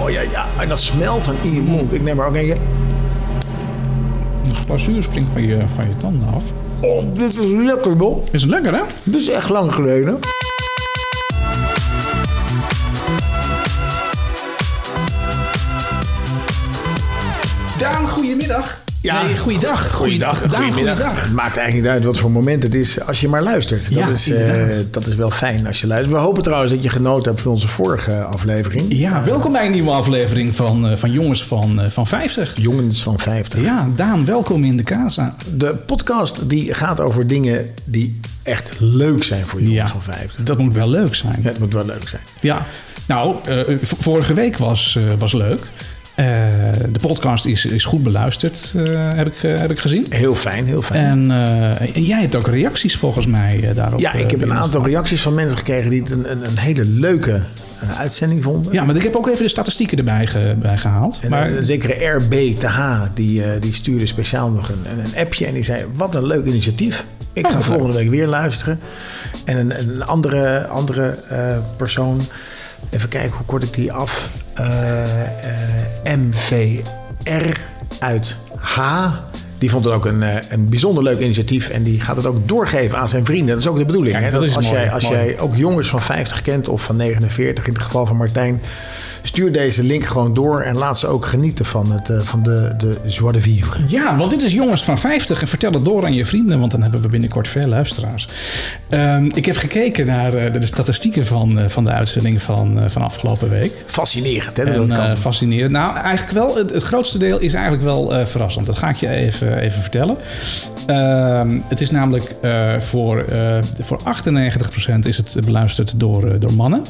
Oh ja, ja. En dat smelt dan in je mond. Ik neem maar ook eentje. De glazuur springt van je, van je tanden af. Oh, dit is lekker, Bob. Is het lekker, hè? Dit is echt lang geleden. Daan, goedemiddag. Ja. Nee, goeiedag. Daan, goeiedag. Het maakt eigenlijk niet uit wat voor moment het is als je maar luistert. Dat, Ja, is, eh, inderdaad. dat is wel fijn als je luistert. We hopen trouwens dat je genoten hebt van onze vorige aflevering. Ja, welkom bij een nieuwe aflevering van, eh, van Jongens van, eh, van 50. Jongens van 50. Ja, Daan, welkom in de casa. De podcast die gaat over dingen die echt leuk zijn voor jongens Ja, van 50. dat moet wel leuk zijn. Het moet wel leuk zijn. Ja, nou, eh, v- vorige week was, eh, was leuk. Eh, de podcast is, is goed beluisterd, eh, heb, ik, eh, heb ik gezien. Heel fijn, heel fijn. En eh, en jij hebt ook reacties volgens mij eh, daarop. ja, ik eh, heb een binnen- aantal reacties van mensen gekregen die het een, een, een hele leuke eh, uitzending vonden. Ja, maar ik heb ook even de statistieken erbij ge- bij gehaald. En eh, maar, een, een zekere RBTH, die, eh, die stuurde speciaal nog een, een appje en die zei: Wat een leuk initiatief. Ik ga wat volgende week weer luisteren. En een, een andere, andere eh, persoon, even kijken hoe kort ik die af. Eh, eh, MVR uit H. Die vond het ook een, eh, een bijzonder leuk initiatief. En die gaat het ook doorgeven aan zijn vrienden. Dat is ook de bedoeling. Kijk, hè? dat is als mooi, jij, als mooi. jij ook jongens van 50 kent of van 49, in het geval van Martijn, stuur deze link gewoon door en laat ze ook genieten van, het, eh, van de, de joie de vivre. ja, want dit is Jongens van 50 en vertel het door aan je vrienden, want dan hebben we binnenkort veel luisteraars. Ehm, ik heb gekeken naar eh, de, de statistieken van, eh, van de uitzending van, eh, van afgelopen week. Fascinerend, hè? dat En dat kan. eh, fascinerend. Nou, eigenlijk wel. Het, het grootste deel is eigenlijk wel eh, verrassend. Dat ga ik je even, even vertellen. Ehm, het is namelijk eh, voor, eh, voor 98% is het beluisterd door, eh, door mannen.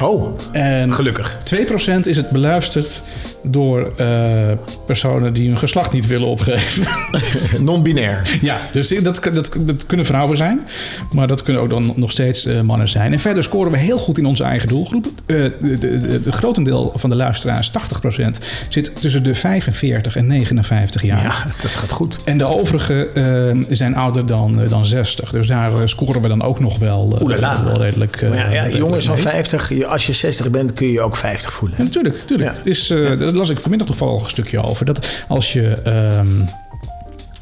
oh, En gelukkig. 2% is het beluisterd door eh, personen die hun geslacht niet willen opgeven. Non-binair. ja, dus dat, dat, dat kunnen vrouwen zijn. Maar dat kunnen ook dan nog steeds eh, mannen zijn. En verder scoren we heel goed in onze eigen doelgroep. Het de, de, de, de grotendeel van de luisteraars, 80%, zit tussen de 45 en 59 jaar. Ja, dat gaat goed. En de overige eh, zijn ouder dan, eh, dan 60. Dus daar eh, scoren we dan ook nog wel, eh, Oelala. wel redelijk. eh, Maar ja, ja, redelijk jongens mee. van 50, je- als je 60 bent, kun je je ook 50 voelen. Ja, hè? natuurlijk, natuurlijk. Ja. Het is, eh, Daar las ik vanmiddag toevallig een stukje over. Dat als je... ehm,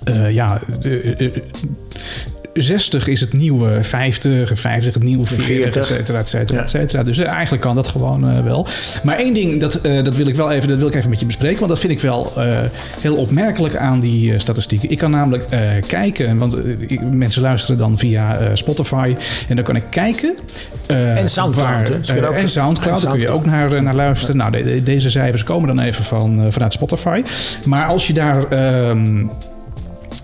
eh, ja, eh, eh, 60 is het nieuwe 50, en 50 het nieuwe 40, 40. et cetera, et cetera, Ja. et cetera. Dus eh, eigenlijk kan dat gewoon eh, wel. Maar één ding, dat, eh, dat wil ik wel even, dat wil ik even met je bespreken. Want dat vind ik wel eh, heel opmerkelijk aan die eh, statistieken. Ik kan namelijk eh, kijken, want eh, ik- mensen luisteren dan via eh, Spotify. En dan kan ik kijken. eh, En Soundcloud, hè? Ze eh, kunnen ook- en Soundcloud, en daar kun je ook Soundcloud. naar, eh, naar luisteren. Nou, de- de- deze cijfers komen dan even van, eh, vanuit Spotify. Maar als je daar ehm,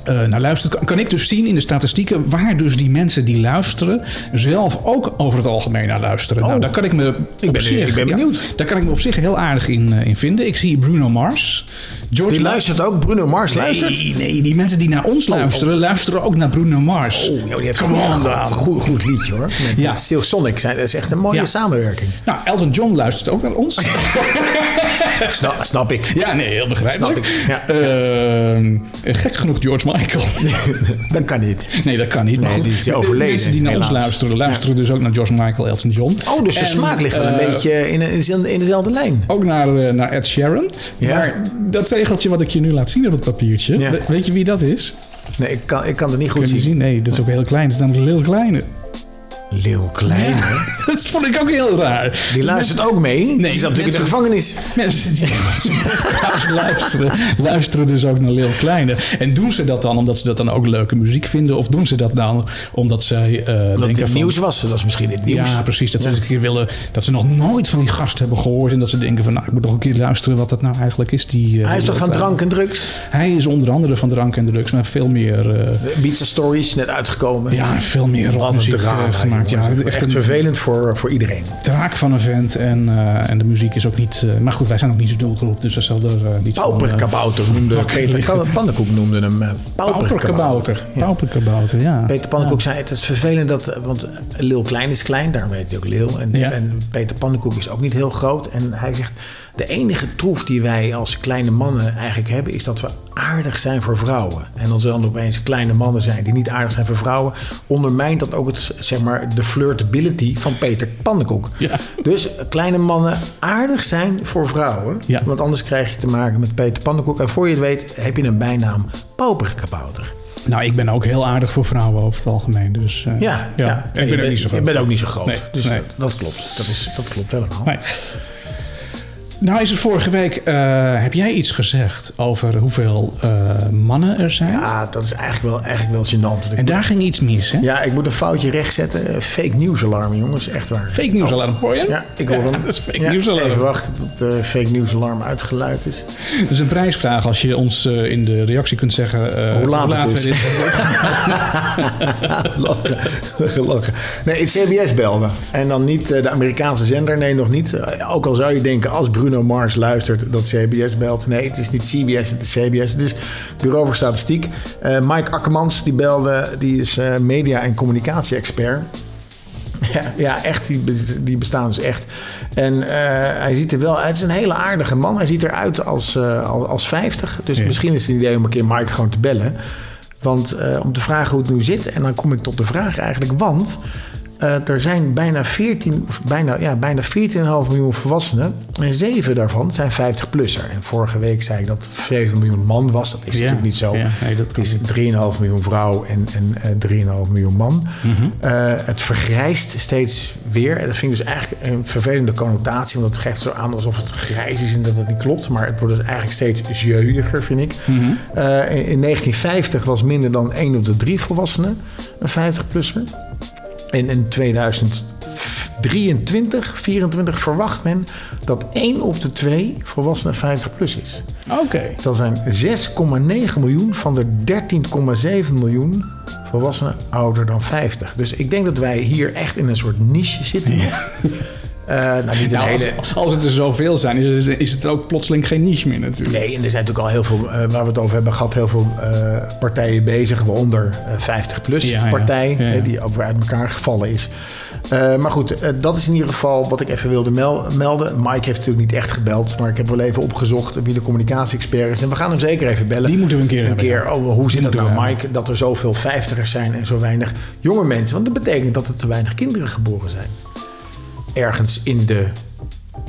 eh, naar luistert, kan, kan ik dus zien in de statistieken waar dus die mensen die luisteren zelf ook over het algemeen naar luisteren. Nou, daar kan ik me op ben- zich, Oh. ik ben ja, benieuwd. daar kan ik me op zich heel aardig in, eh, in vinden. Ik zie Bruno Mars, George Die Ma- luistert ook, Bruno Mars luistert. Nee, nee, die mensen die naar ons luisteren, luisteren ook naar Bruno Mars. Oh, joh, die heeft Come on, een Daan. goed, goed liedje hoor. Met Ja. ja. Silk Sonic, zijn- dat is echt een mooie Ja. samenwerking. Nou, Elton John luistert ook naar ons. Sna- snap ik. Ja, nee, heel begrijpelijk. Snap ik, ja. Ehm, gek genoeg George Michael. Dan kan dit. Nee, dat kan niet. maar Nee, goed, die is de overleden, Mensen die naar ons helaas. luisteren, luisteren dus ook naar George Michael, Elton John. Oh, dus de En, smaak ligt wel een eh, beetje in, in, in dezelfde lijn. Ook naar, eh, naar Ed Sheeran. Ja. Maar dat tegeltje wat ik je nu laat zien op het papiertje, Ja. we- weet je wie dat is? Nee, ik kan, ik kan het niet goed Kun zien. je zien? Nee, dat is ook heel klein. Dat is namelijk Lil Kleine. Leeuw Klein, hè? dat vond ik ook heel raar. Die luistert ook mee. Nee, die zat natuurlijk in de mensen- gevangenis. Mensen die onze podcast luisteren, luisteren dus ook naar Lil Kleine. En doen ze dat dan omdat ze dat dan ook leuke muziek vinden? Of doen ze dat dan omdat zij eh Dat denken dit van... nieuws was. Dat was misschien dit nieuws. Ja, precies. Dat ze eens een keer willen dat ze nog nooit van die gast hebben gehoord. En dat ze denken van nou, ik moet nog een keer luisteren wat dat nou eigenlijk is. Die, eh, Hij is toch van drank en drugs? Hij is onder andere van drank en drugs, maar veel meer. eh, Beats and Stories, net uitgekomen. ja, veel meer rockmuziek eh, gemaakt. Ja, jongens. echt, echt, een vervelend voor, voor iedereen. draak van een vent. En, eh, en de muziek is ook niet... eh, maar goed, wij zijn ook niet de doelgroep, dus dat zal er eh, niet van... eh, Pauperkabouter noemde wakker Peter liggen. Kan- Pannenkoek noemde hem. eh, Pauperkabouter. Pauperkabouter. Ja. Pauperkabouter, ja. Peter Pannenkoek zei, het is vervelend dat, eh, want Leeuw Klein is klein, daarom heet hij ook Leeuw. En, Ja. en Peter Pannenkoek is ook niet heel groot. En hij zegt, de enige troef die wij als kleine mannen eigenlijk hebben, is dat we aardig zijn voor vrouwen. En als er dan opeens kleine mannen zijn die niet aardig zijn voor vrouwen, ondermijnt dat ook het, zeg maar, de flirtability van Peter Pandenkoek. Ja. Dus kleine mannen aardig zijn voor vrouwen. Ja. Want anders krijg je te maken met Peter Pandenkoek. En voor je het weet heb je een bijnaam pauperkabouter. Nou, ik ben ook heel aardig voor vrouwen over het algemeen. Dus, eh, Ja, ja. En ik je ben ook bent- niet zo Je groot. bent ook niet zo groot. Nee, dus nee. Dat, dat klopt. Dat, is, dat klopt helemaal. Nee. Nou is er vorige week, eh, heb jij iets gezegd over hoeveel eh, mannen er zijn? Ja, dat is eigenlijk wel, eigenlijk wel gênant. Want ik En daar ging iets mis, hè? Ja, ik moet een foutje rechtzetten. Eh, Fake nieuws alarm, jongens. Echt waar. Fake news alarm, hoor je hem? Ja, ik hoor hem. dat is fake Ja, news alarm. Even wachten tot de fake nieuws alarm uitgeluid is. Dat is een prijsvraag als je ons eh, in de reactie kunt zeggen... eh, Hoe laat het we is. dit- Lachen. Gelachen. Nee, het CBS belde. En dan niet eh, de Amerikaanse zender. Nee, nog niet. Eh, Ook al zou je denken, als Bruno Mars luistert, dat CBS belt. Nee, het is niet CBS, het is CBS. Het is Bureau voor Statistiek. Eh, Mike Akkermans, die belde. Die is eh, media- en communicatie-expert. Ja, ja, echt. Die, be- die bestaan dus echt. En eh, hij ziet er wel... Het is een hele aardige man. Hij ziet eruit als, eh, als, als 50. Dus Ja. misschien is het een idee om een keer Mike gewoon te bellen. Want eh, om te vragen hoe het nu zit. En dan kom ik tot de vraag eigenlijk. Want eh, er zijn bijna 14... of Bijna, ja, bijna 14,5 miljoen volwassenen. En 7 daarvan zijn 50-plusser. En vorige week zei ik dat 7 miljoen man was. Dat is Ja, natuurlijk niet zo. ja, nee, dat Het kan is 3,5 miljoen vrouw en, en eh, 3,5 miljoen man. Mhm. Eh, het vergrijst steeds weer. En dat vind ik dus eigenlijk een vervelende connotatie. Want dat geeft zo aan alsof het grijs is en dat het niet klopt. Maar het wordt dus eigenlijk steeds jeuiger, vind ik. Mhm. Eh, in, in 1950 was minder dan 1 op de 3 volwassenen een 50-plusser. En in 2023, 24 verwacht men dat 1 op de 2 volwassenen 50-plus is. Oké. Dan zijn 6,9 miljoen van de 13,7 miljoen volwassenen ouder dan 50. Dus ik denk dat wij hier echt in een soort niche zitten. Eh, nou, niet een Nou, hele... als, als het er zoveel zijn, is, is het ook plotseling geen niche meer natuurlijk. Nee, en er zijn natuurlijk al heel veel, eh, waar we het over hebben gehad, heel veel eh, partijen bezig, waaronder eh, 50PLUS Ja, ja. partij, Ja, ja. hè, die ook weer uit elkaar gevallen is. Eh, maar goed, eh, dat is in ieder geval wat ik even wilde mel- melden. Mike heeft natuurlijk niet echt gebeld, maar ik heb wel even opgezocht eh, wie de communicatie-expert is. En we gaan hem zeker even bellen. Die moeten we een keer Een hebben, keer, oh, hoe zit dat moeten we nou, hebben. Mike, dat er zoveel vijftigers zijn en zo weinig jonge mensen? Want dat betekent dat er te weinig kinderen geboren zijn. Ergens in de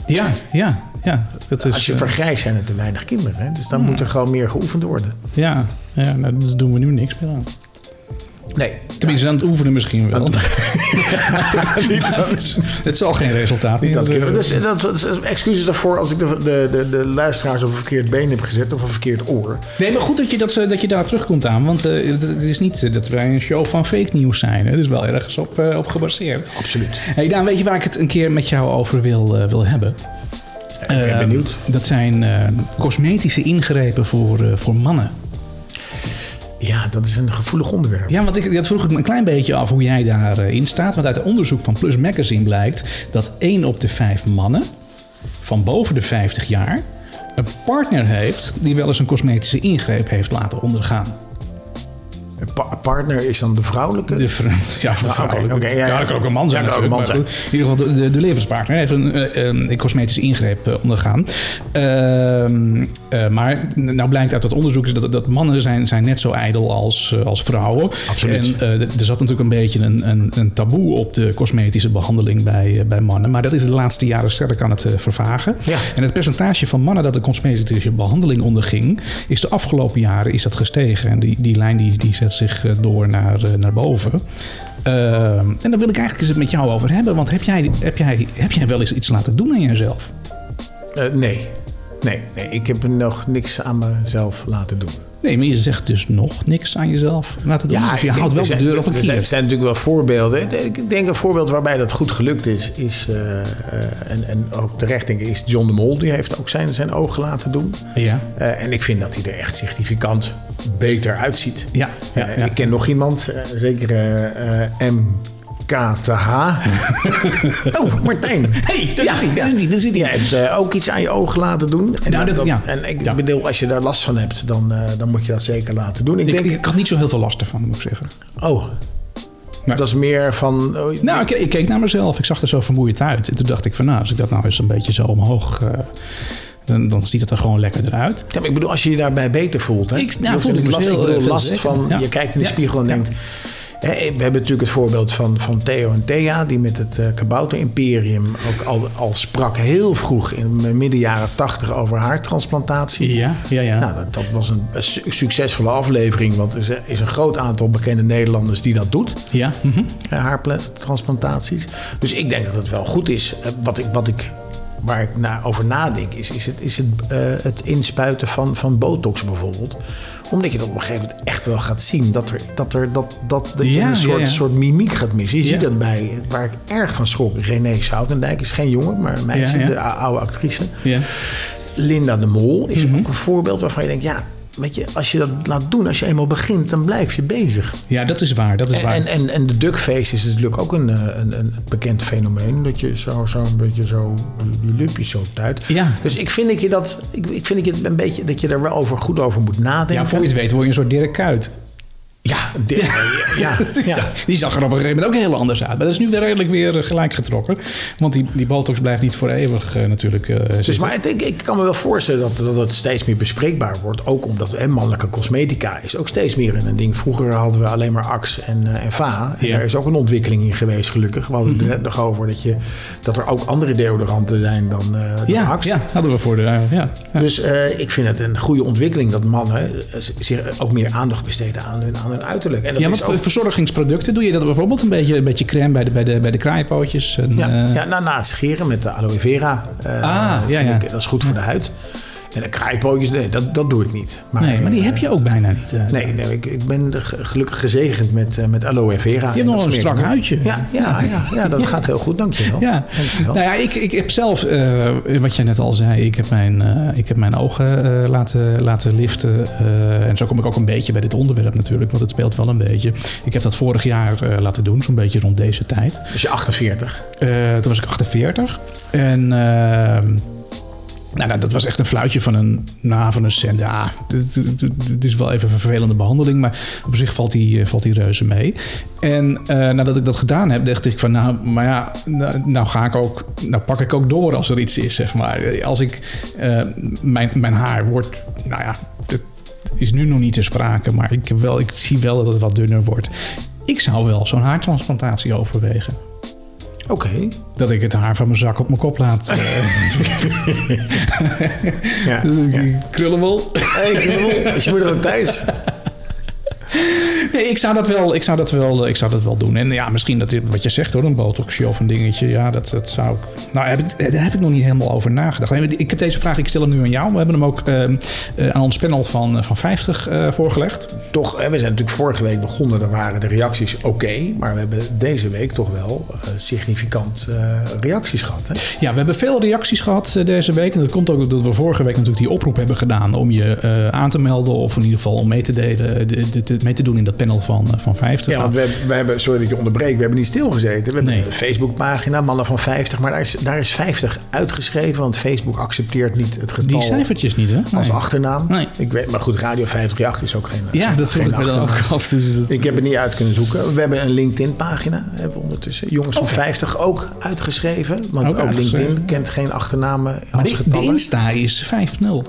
Ja, ja, ja. Dat is, als je eh, hmm. vergrijst zijn er te weinig kinderen. Hè? Dus dan moet er gewoon meer geoefend worden. ja, ja nou, daar doen we nu niks meer aan. Nee. Tenminste, aan het oefenen misschien wel. Maar dat- het, is- het zal geen resultaat Niet dat meer kinderen. Dus hebben. eh, dat, dat- excuses daarvoor als ik de, de, de, de luisteraars op een verkeerd been heb gezet of een verkeerd oor. Nee, maar goed dat je, dat, eh, dat je daar terugkomt aan. Want eh, het het is niet eh, dat wij een show van fake nieuws zijn. hè. Het is wel ergens op, eh, op gebaseerd. Absoluut. Hey Daan, weet je waar ik het een keer met jou over wil, eh, wil hebben? Ik ben benieuwd. Dat zijn eh, cosmetische ingrepen voor, eh, voor mannen. Ja, dat is een gevoelig onderwerp. Ja, want ik, dat vroeg ik me een klein beetje af hoe jij daarin staat. Want uit het onderzoek van Plus Magazine blijkt dat 1 op de 5 mannen van boven de 50 jaar een partner heeft die wel eens een cosmetische ingreep heeft laten ondergaan. Een pa- partner is dan de vrouwelijke. De vrouw- ja, de Ah, oké, vrouwelijke- oké, ja, ja. dat kan ook een man zijn. Ja, dat kan ook een natuurlijk, man maar goed. In ieder geval, de, de, de levenspartner heeft een, eh, een, een cosmetische ingreep eh, ondergaan. Ehm, eh, maar nou blijkt uit dat onderzoek is dat, dat mannen zijn, zijn net zo ijdel als, eh, als vrouwen. Absoluut. En eh, d- er zat natuurlijk een beetje een, een, een taboe op de cosmetische behandeling bij, eh, bij mannen. Maar dat is de laatste jaren sterk aan het eh, vervagen. Ja. En het percentage van mannen dat de cosmetische behandeling onderging, is de afgelopen jaren is dat gestegen. En die, die lijn die, die zet zich eh, door naar, eh, naar boven. Ehm, en daar wil ik eigenlijk eens het met jou over hebben. Want heb jij, heb jij, heb jij wel eens iets laten doen aan jezelf? Eh, nee. nee. Nee, ik heb nog niks aan mezelf laten doen. Nee, maar je zegt dus nog niks aan jezelf laten doen. dus je ik- houdt wel er de zijn- deur op een er zijn- Er kier. zijn natuurlijk wel voorbeelden. Ik denk een voorbeeld waarbij dat goed gelukt is, is eh, eh, en, en ook terecht denk ik, is John de Mol. Die heeft ook zijn, zijn ogen laten doen. Ja. Eh, en ik vind dat hij er echt significant beter uitziet. Ja, ja, Eh, ja. Ik ken nog iemand, eh, zeker eh, eh, MKTH. oh, Martijn. Hey, daar zit hij, daar zit hij, daar zit hij. Jij hebt eh, ook iets aan je ogen laten doen. En, Nou, dat- ja. en ik Ja. bedoel, als je daar last van hebt, dan, eh, dan moet je dat zeker laten doen. Ik, Ik, denk, ik had niet zo heel veel last ervan, moet ik zeggen. oh, Maar- dat is meer van... oh, Nou, ik, ik keek naar mezelf. Ik zag er zo vermoeid uit. En toen dacht ik van, nou, als ik dat nou eens een beetje zo omhoog... eh, dan, dan ziet het er gewoon lekkerder uit. Ja, maar ik bedoel, als je je daarbij beter voelt. Hè? Ik- nou, Je hoeft voel er ik niet me last, veel, ik bedoel, eh, veel last zeker. van. Ja. Je kijkt in de Ja. spiegel en Ja. denkt. Hè, we hebben natuurlijk het voorbeeld van, van Theo en Thea, die met het eh, kabouter-imperium ook al, al sprak heel vroeg in de midden jaren tachtig over haartransplantatie. Ja, ja, ja. Nou, dat, dat was een su- succesvolle aflevering, want er is, is een groot aantal bekende Nederlanders die dat doet ja. mhm. eh, haartransplantaties. Dus ik denk dat het wel goed is. Eh, Wat ik, wat ik, waar ik na, over nadenk is, is het, is het, eh, het inspuiten van, van botox bijvoorbeeld. Omdat je dat op een gegeven moment echt wel gaat zien. Dat, er, dat, er, dat, dat, dat je Ja, een ja, soort, ja. soort mimiek gaat missen. Je Ja. ziet dat bij, waar ik erg van schrok, René Soutendijk is geen jongen, maar een meisje, Ja, ja. de ou- oude actrice. Ja. Mhm. Linda de Mol is ook een voorbeeld waarvan je denkt, ja... Weet je, als je dat laat doen, als je eenmaal begint, dan blijf je bezig. ja, dat is waar. Dat is waar. En, en, en de duckface is natuurlijk ook een, eh, een, een bekend fenomeen. Dat je zo, zo een beetje zo die, die lipjes zo tuit. Ja. Dus ik vind, dat je dat, ik, ik vind dat je een beetje, dat je daar wel over, goed over moet ja, nadenken. voor je het weet word je een soort Dirk Kuyt. Ja, dit- ja, Dat is- ja. Die zag er op een gegeven moment ook heel anders uit. Maar dat is nu weer redelijk weer eh, gelijk getrokken. Want die, die botox blijft niet voor eeuwig eh, natuurlijk eh, Dus, zitten. maar het- ik, ik kan me wel voorstellen dat, dat het steeds meer bespreekbaar wordt. Ook omdat hè, mannelijke cosmetica is ook steeds meer een ding. Vroeger hadden we alleen maar Axe en, eh, en Va. En Ja. Mhm. daar is ook een ontwikkeling in geweest, gelukkig. We hadden het er net nog over dat, je, dat er ook andere deodoranten zijn dan, eh dan ja, Axe. ja, hadden we voor de... eh, ja. ja. Dus eh, ik vind het een goede ontwikkeling dat mannen eh, zich ook meer aandacht besteden aan hun, aan hun uiterlijk. En dat Ja, is want voor ook, verzorgingsproducten doe je dat bijvoorbeeld een beetje, een beetje crème bij de, bij de, bij de kraaienpootjes. En, ja, eh, ja, nou, na het scheren met de aloe vera. eh, Ah, vind ja, ja. Ik, dat is goed voor de huid. En de kraaipootjes, nee, dat, dat doe ik niet. Maar, nee, maar die eh, heb je ook bijna niet. eh. Nee, nee ik, ik ben ge- gelukkig gezegend met, eh, met aloe vera. Je En hebt nog dat een smeer ik strak op. huidje. Ja, ja, ja, ja, dat gaat heel goed, dankjewel. Ja, Dankjewel. nou ja, ik, ik heb zelf, eh, wat jij net al zei, ik heb mijn, eh, ik heb mijn ogen eh, laten, laten liften. eh, en zo kom ik ook een beetje bij dit onderwerp natuurlijk, want het speelt wel een beetje. Ik heb dat vorig jaar eh, laten doen, zo'n beetje rond deze tijd. Dus je 48. Eh, toen was ik 48. En eh, nou, nou, dat was echt een fluitje van een, nou, van een cent. Ja, dit- dit- dit- dit is wel even een vervelende behandeling, maar op zich valt die, eh, valt die reuze mee. En eh, nadat ik dat gedaan heb, dacht ik van, nou, maar ja, nou, nou ga ik ook, nou pak ik ook door als er iets is, zeg maar. Als ik, eh, mijn, mijn haar wordt, nou ja, het is nu nog niet ter sprake, maar ik, heb wel, ik zie wel dat het wat dunner wordt. Ik zou wel zo'n haartransplantatie overwegen Oké. dat ik het haar van mijn zak op mijn kop laat. Eh, Ja, ja. Die Krullen wel. Hey, is je moeder ook thuis? Nee, ik zou dat wel, ik zou dat wel, eh, ik zou dat wel doen. En ja, misschien dat dit- wat je zegt hoor, een botoxje of een dingetje. Ja, dat, dat zou ik. Nou, heb ik, daar heb ik nog niet helemaal over nagedacht. Nee, Ik heb deze vraag, ik stel hem nu aan jou. We hebben hem ook ehm, eh, aan ons panel van, eh, van 50 eh, voorgelegd. toch, hè, we zijn natuurlijk vorige week begonnen, daar waren de reacties oké. maar we hebben deze week toch wel eh, significant eh, reacties gehad. Hè? Ja, we hebben veel reacties gehad eh, deze week. En dat komt ook omdat we vorige week natuurlijk die oproep hebben gedaan om je eh, aan te melden. Of in ieder geval om mee te, delen, eh, de- de- de- mee te doen in dat panel van, eh, van 50. Ja, want we, hebben- we hebben, sorry dat je onderbreekt, we hebben niet stilgezeten. We hebben Nee. een Facebookpagina, mannen van 50, maar daar is, daar is 50 uitgeschreven, want Facebook accepteert niet het getal die cijfertjes niet, hè? als Nee. achternaam. Nee. Ik weet, maar goed, Radio 538 is ook geen eh, Ja, dat geen vroeg ik me dan achternaam. ook af. Dus dat... Ik heb het niet uit kunnen zoeken. We hebben een LinkedIn-pagina. Hebben we ondertussen jongens van 50 ook uitgeschreven. Want Oh. Ook ook, uitgeschreven. LinkedIn kent geen achternamen als maar die, de getallen. Insta is 5-0.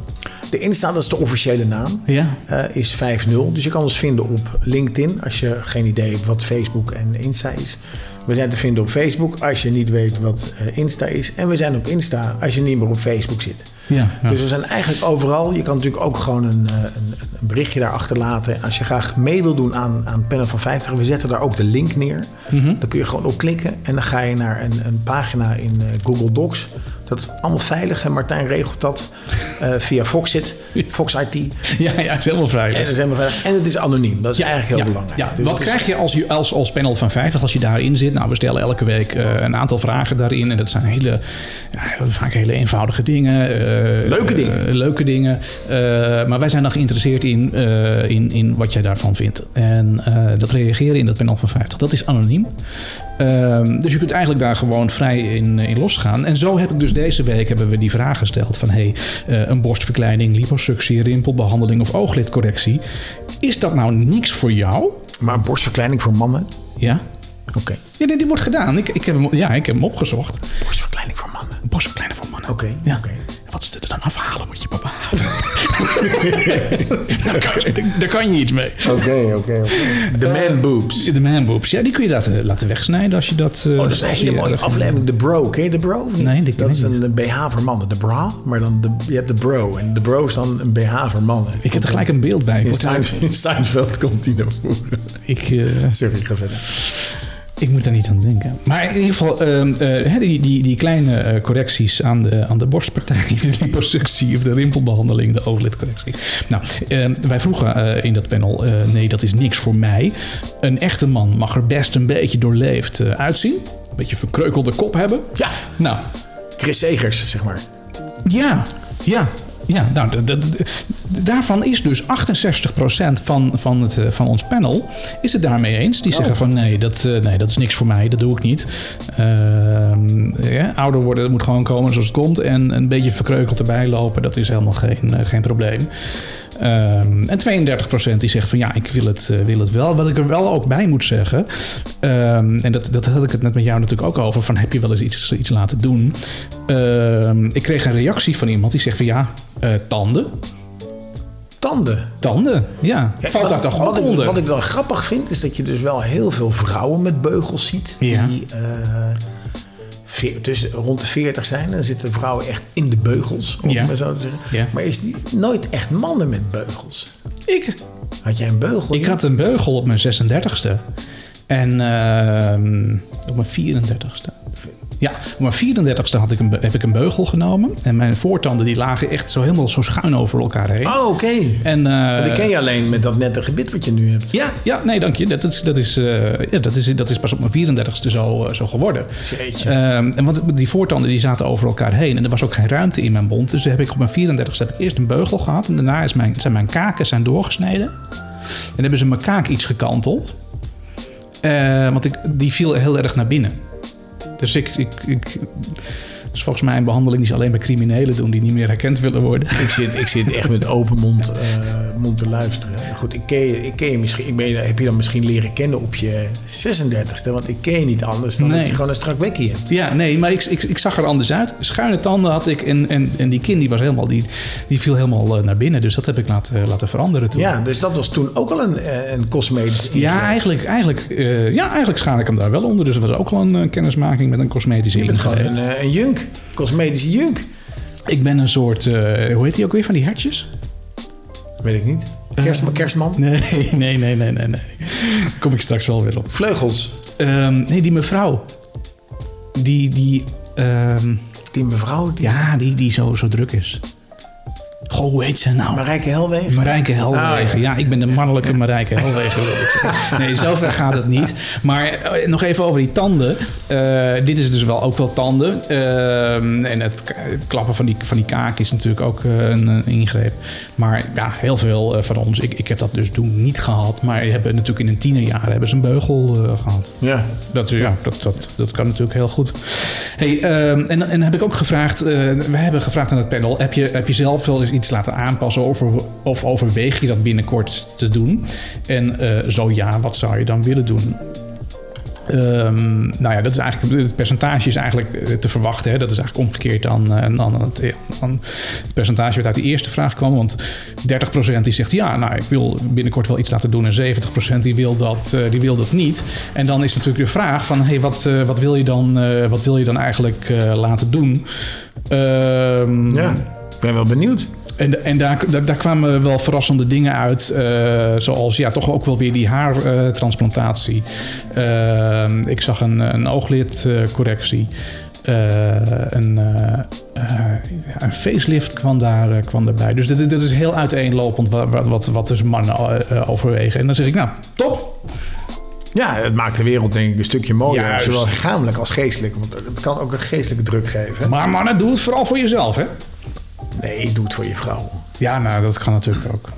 De Insta, dat is de officiële naam, Ja. eh, is 5.0. Dus je kan ons vinden op LinkedIn als je geen idee hebt wat Facebook en Insta is. We zijn te vinden op Facebook als je niet weet wat eh, Insta is. En we zijn op Insta als je niet meer op Facebook zit. Ja, ja. Dus we zijn eigenlijk overal. Je kan natuurlijk ook gewoon een, eh, een, een berichtje daar achterlaten. En Als je graag mee wil doen aan, aan Panel van 50, we zetten daar ook de link neer. Mhm. Dan kun je gewoon op klikken en dan ga je naar een, een pagina in eh, Google Docs. Dat is allemaal veilig en Martijn regelt dat eh, via Foxit, Fox IT. ja, ja, is helemaal veilig. En, dat is helemaal veilig. en het is anoniem, dat is eigenlijk heel ja, belangrijk. ja. Dus Wat het is- krijg je als, je als, als panel van 50 als je daarin zit? Nou, we stellen elke week eh, een aantal vragen daarin. En dat zijn hele, ja, vaak hele eenvoudige dingen. eh, Leuke eh, dingen. leuke dingen. Eh, maar wij zijn dan geïnteresseerd in, eh, in, in wat jij daarvan vindt. En eh, dat reageren in dat panel van 50, dat is anoniem. Ehm, dus je kunt eigenlijk daar gewoon vrij in, eh, in losgaan. En zo heb ik dus deze week hebben we die vraag gesteld van... hey, eh, een borstverkleining, liposuctie, rimpelbehandeling of ooglidcorrectie... is dat nou niks voor jou? Maar een borstverkleining voor mannen? Ja? Oké, Ja, nee, die wordt gedaan. Ik, ik heb hem, ja, ik heb hem opgezocht. borstverkleining voor mannen. Een borstverkleiner voor mannen. Oké, Ja. oké. Wat ze er dan afhalen moet je papa halen. daar, kan, je- daar kan je iets mee. Oh. Oké, oké. De man boobs. De manboobs, ja, die kun je laten, laten wegsnijden als je eh, dat... Oh, dat is een hele mooie aflevering. De bro. Ken je de bro? of niet? Nee, die ken Dat ik is niet. een BH voor mannen. De bra, maar dan de, je hebt de bro. En de bro is dan een BH voor mannen. Ik heb er gelijk een beeld bij. Ik, In, word- Seinf- in Seinfeld komt die naar voren. ik, eh, Sorry, ik ga verder. Ik moet daar niet aan denken. Maar in ieder geval, ehm, eh, hè, die, die, die kleine eh, correcties aan de, aan de borstpartij, de liposuctie of de rimpelbehandeling, de ooglidcorrectie. Nou, ehm, wij vroegen eh, in dat panel, eh, nee, dat is niks voor mij. Een echte man mag er best een beetje doorleefd eh, uitzien. Een beetje verkreukelde kop hebben. Ja, Nou, Chris Segers, zeg maar. ja, ja. Ja, nou, d- d- d- daarvan is dus 68% van, van, het, eh, van ons panel is het daarmee eens. Die zeggen van nee dat, eh, nee, dat is niks voor mij, dat doe ik niet. Ehm, ja, ouder worden dat moet gewoon komen zoals het komt. En een beetje verkreukeld erbij lopen, dat is helemaal geen, eh, geen probleem. Ehm, en 32% die zegt van ja, ik wil het, eh, wil het wel. Wat ik er wel ook bij moet zeggen, ehm, en dat, dat had ik het net met jou natuurlijk ook over, van heb je wel eens iets, iets laten doen? Ehm, ik kreeg een reactie van iemand die zegt van ja, eh, tanden. Tanden. Tanden, ja. Ja, Valt daar wat- toch wat ook ik, onder? Wat ik dan grappig vind, is dat je dus wel heel veel vrouwen met beugels ziet. Ja. Die eh, veer- tussen, rond de 40 zijn. Dan zitten vrouwen echt in de beugels, om Ja. het maar zo te zeggen. Ja. Maar is die, nooit echt mannen met beugels. ik, Had jij een beugel? ik had een beugel op mijn 36e. En ehm, op mijn 34ste. Ja, op mijn 34ste had ik een, be- heb ik een beugel genomen. En mijn voortanden die lagen echt zo helemaal zo schuin over elkaar heen. Oh, oké. En, eh, Maar Oh, die ken je alleen met dat nette gebit wat je nu hebt. Ja, ja, nee, dank je. Dat is, dat is, eh, ja, dat is, dat is pas op mijn 34ste zo, eh, zo geworden. Jeetje. Ehm, en want die voortanden die zaten over elkaar heen. En er was ook geen ruimte in mijn mond. Dus heb ik op mijn 34ste heb ik eerst een beugel gehad. En daarna is mijn, zijn mijn kaken zijn doorgesneden. En hebben ze mijn kaak iets gekanteld. Eh, want ik, die viel heel erg naar binnen. Dus ik... ik, ik dat is volgens mij een behandeling die ze alleen bij criminelen doen die niet meer herkend willen worden. Ik zit, ik zit echt met open mond, eh, mond te luisteren. Goed, ik ken je, ik ken je misschien. Ik ben, heb je dan misschien leren kennen op je 36e? Want ik ken je niet anders dan Nee. dat je gewoon een strak bekkie hebt. Ja, nee, maar ik, ik, ik zag er anders uit. Schuine tanden had ik en, en, en die kin die was helemaal, die, die viel helemaal eh, naar binnen. Dus dat heb ik laten, laten veranderen toen. Ja, dus dat was toen ook al een, eh, een cosmetische ingreep. Ja, eigenlijk, eigenlijk, eh, ja, eigenlijk schaal ik hem daar wel onder. Dus dat was ook wel een eh, kennismaking met een cosmetische Je bent gewoon ingreep. een, eh, een junk. Cosmetische junk. Ik ben een soort, eh, hoe heet die ook weer, van die hertjes? Weet ik niet. Kerstman. kerstman. Eh, Nee, nee, nee, nee, nee. nee. Daar kom ik straks wel weer op. Vleugels. Ehm, nee, die mevrouw. Die, die, ehm, Die mevrouw. Die ja, die, die zo, zo druk is. Goh, hoe heet ze nou? Marijke Helwegen. Marijke Helwegen. Ah, ja. ja. ik ben de mannelijke Marijke Helwegen. wil ik zeggen. Nee, zover gaat het niet. Maar eh, nog even over die tanden. Eh, dit is dus wel ook wel tanden. Ehm, en het k- het klappen van die, van die kaak is natuurlijk ook eh, een, een ingreep. Maar ja, heel veel eh, van ons, ik, ik heb dat dus toen niet gehad. Maar hebben natuurlijk in hun tienerjaren hebben ze een beugel eh, gehad. Ja. Dat, ja, dat, dat, dat kan natuurlijk heel goed. Hey, ehm, en, en heb ik ook gevraagd, eh, we hebben gevraagd aan het panel, heb je, heb je zelf wel eens iets laten aanpassen of, over- of overweeg je dat binnenkort te doen? En eh, zo ja, wat zou je dan willen doen? Ehm, nou ja, dat is eigenlijk, het percentage is eigenlijk eh, te verwachten. Hè? Dat is eigenlijk omgekeerd aan, eh, aan, het, eh, aan het percentage wat uit de eerste vraag kwam. Want 30% die zegt ja, nou ik wil binnenkort wel iets laten doen. En 70% die wil dat, eh, die wil dat niet. En dan is natuurlijk de vraag van hey, wat, eh, wat, wil je dan, eh, wat wil je dan eigenlijk eh, laten doen? Ehm, Ja. Ik ben wel benieuwd. en, en daar, daar, daar kwamen wel verrassende dingen uit. eh, zoals ja, toch ook wel weer die haartransplantatie. Eh, ik zag een, een ooglidcorrectie. Eh, een, eh, eh, ja, een facelift kwam, daar, eh, kwam daarbij. Dus dat, dat is heel uiteenlopend wa- wa- wat, wat, dus mannen eh, eh, overwegen. En dan zeg ik, nou, top. Ja, het maakt de wereld denk ik een stukje mooier. Juist. Zowel lichamelijk als geestelijk. Want het kan ook een geestelijke druk geven. Maar mannen, doe het vooral voor jezelf, hè? Nee, doe het voor je vrouw. Ja, nou, dat kan natuurlijk ook.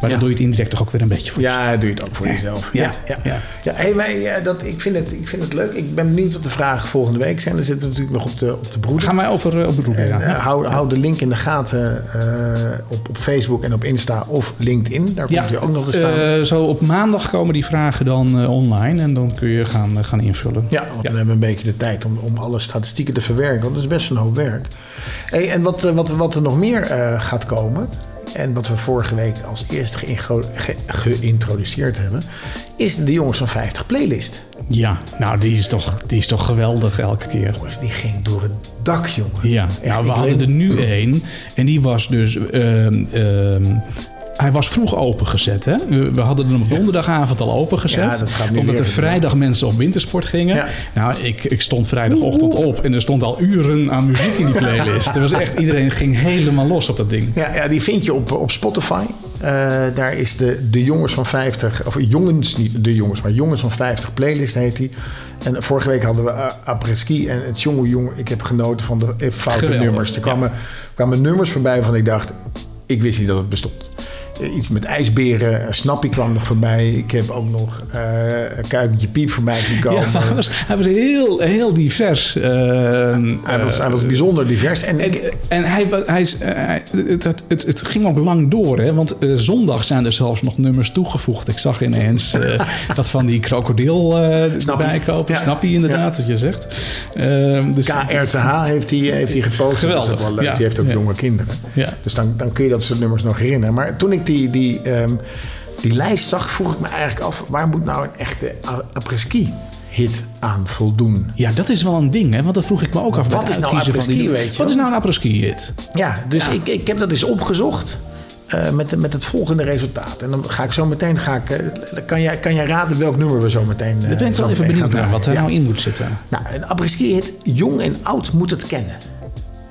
Maar Ja. dan doe je het indirect toch ook weer een beetje voor Ja, doe je het ook voor jezelf. Ja, ja. ja. ja. hey, maar, ja, dat, ik, vind het, ik vind het leuk. Ik ben benieuwd wat de vragen volgende week zijn. Dan zitten we natuurlijk nog op de, op de broeder. Gaan wij over eh, op beroep En, gaan? eh, hou, hou de link in de gaten eh, op, op Facebook en op Insta of LinkedIn. Daar komt hij ook nog te staan. eh, zo op maandag komen die vragen dan eh, online en dan kun je gaan, eh, gaan invullen. ja, want dan hebben we een beetje de tijd om, om alle statistieken te verwerken. Want dat is best een hoop werk. Hey, en wat, eh, wat, wat er nog meer eh, gaat komen, En wat we vorige week als eerste geïngro- ge- geïntroduceerd hebben, is de Jongens van 50 playlist. Ja, nou die is toch, die is toch geweldig elke keer. Jongens, die ging door het dak, jongen. Ja, Echt, nou, ik we hadden weet- er nu één. En die was dus. ehm, ehm, hij was vroeg opengezet. Hè? We, we hadden hem op donderdagavond al opengezet. Ja, dat gaat nu omdat weer er gebeuren. vrijdag mensen op wintersport gingen. Ja. Nou, ik, ik stond vrijdagochtend op en er stond al uren aan muziek in die playlist. er was echt, iedereen ging helemaal los op dat ding. Ja, ja, die vind je op, op Spotify. Eh, daar is de, de Jongens van 50, of Jongens, niet de Jongens, maar Jongens van 50 playlist heet die. En vorige week hadden we eh, Apres-ski en het jonge jong. Ik heb genoten van de eh, foute Geweldig, nummers. Er ja. kwamen, kwamen nummers voorbij waarvan ik dacht, ik wist niet dat het bestond. Eh, Iets met ijsberen, een snappie kwam nog voorbij. Ik heb ook nog eh een kuikentje piep voorbij zien komen. Ja, maar hij, was, hij was heel, heel divers. Ehm, hij, was, hij was bijzonder divers. En, ik- En, en hij, wa- hij is, eh, hij- het, het, het, het ging ook lang door, hè? want eh, zondag zijn er zelfs nog nummers toegevoegd. Ik zag ineens eh, dat van die krokodil eh Snappie. erbij kopen. Ja. Snap je inderdaad wat je zegt? Ehm, dus KRTH heeft hij heeft die gepost. Dat is Geweldig, ook wel leuk. ja. Die heeft ook Ja. jonge kinderen. Ja. Dus dan, dan kun je dat soort nummers nog herinneren. Maar toen ik die, die, ehm, die lijst zag, vroeg ik me eigenlijk af... waar moet nou een echte a- apres-ski hit aan voldoen? Ja, dat is wel een ding, hè? want dat vroeg ik me ook af. bij Wat het is nou uitkiezen van die- apres-ski, weet je Wat wel? is nou een apres-ski-hit? Ja, dus Ik, ik heb dat eens opgezocht... eh, met, de- met het volgende resultaat. En dan ga ik zo meteen. Ga ik, eh, kan, jij, kan jij raden welk nummer we zo meteen. Daar ben ik wel even benieuwd naar, wat daar nou in moet zitten. Nou, een apres-ski hit, jong en oud moet het kennen.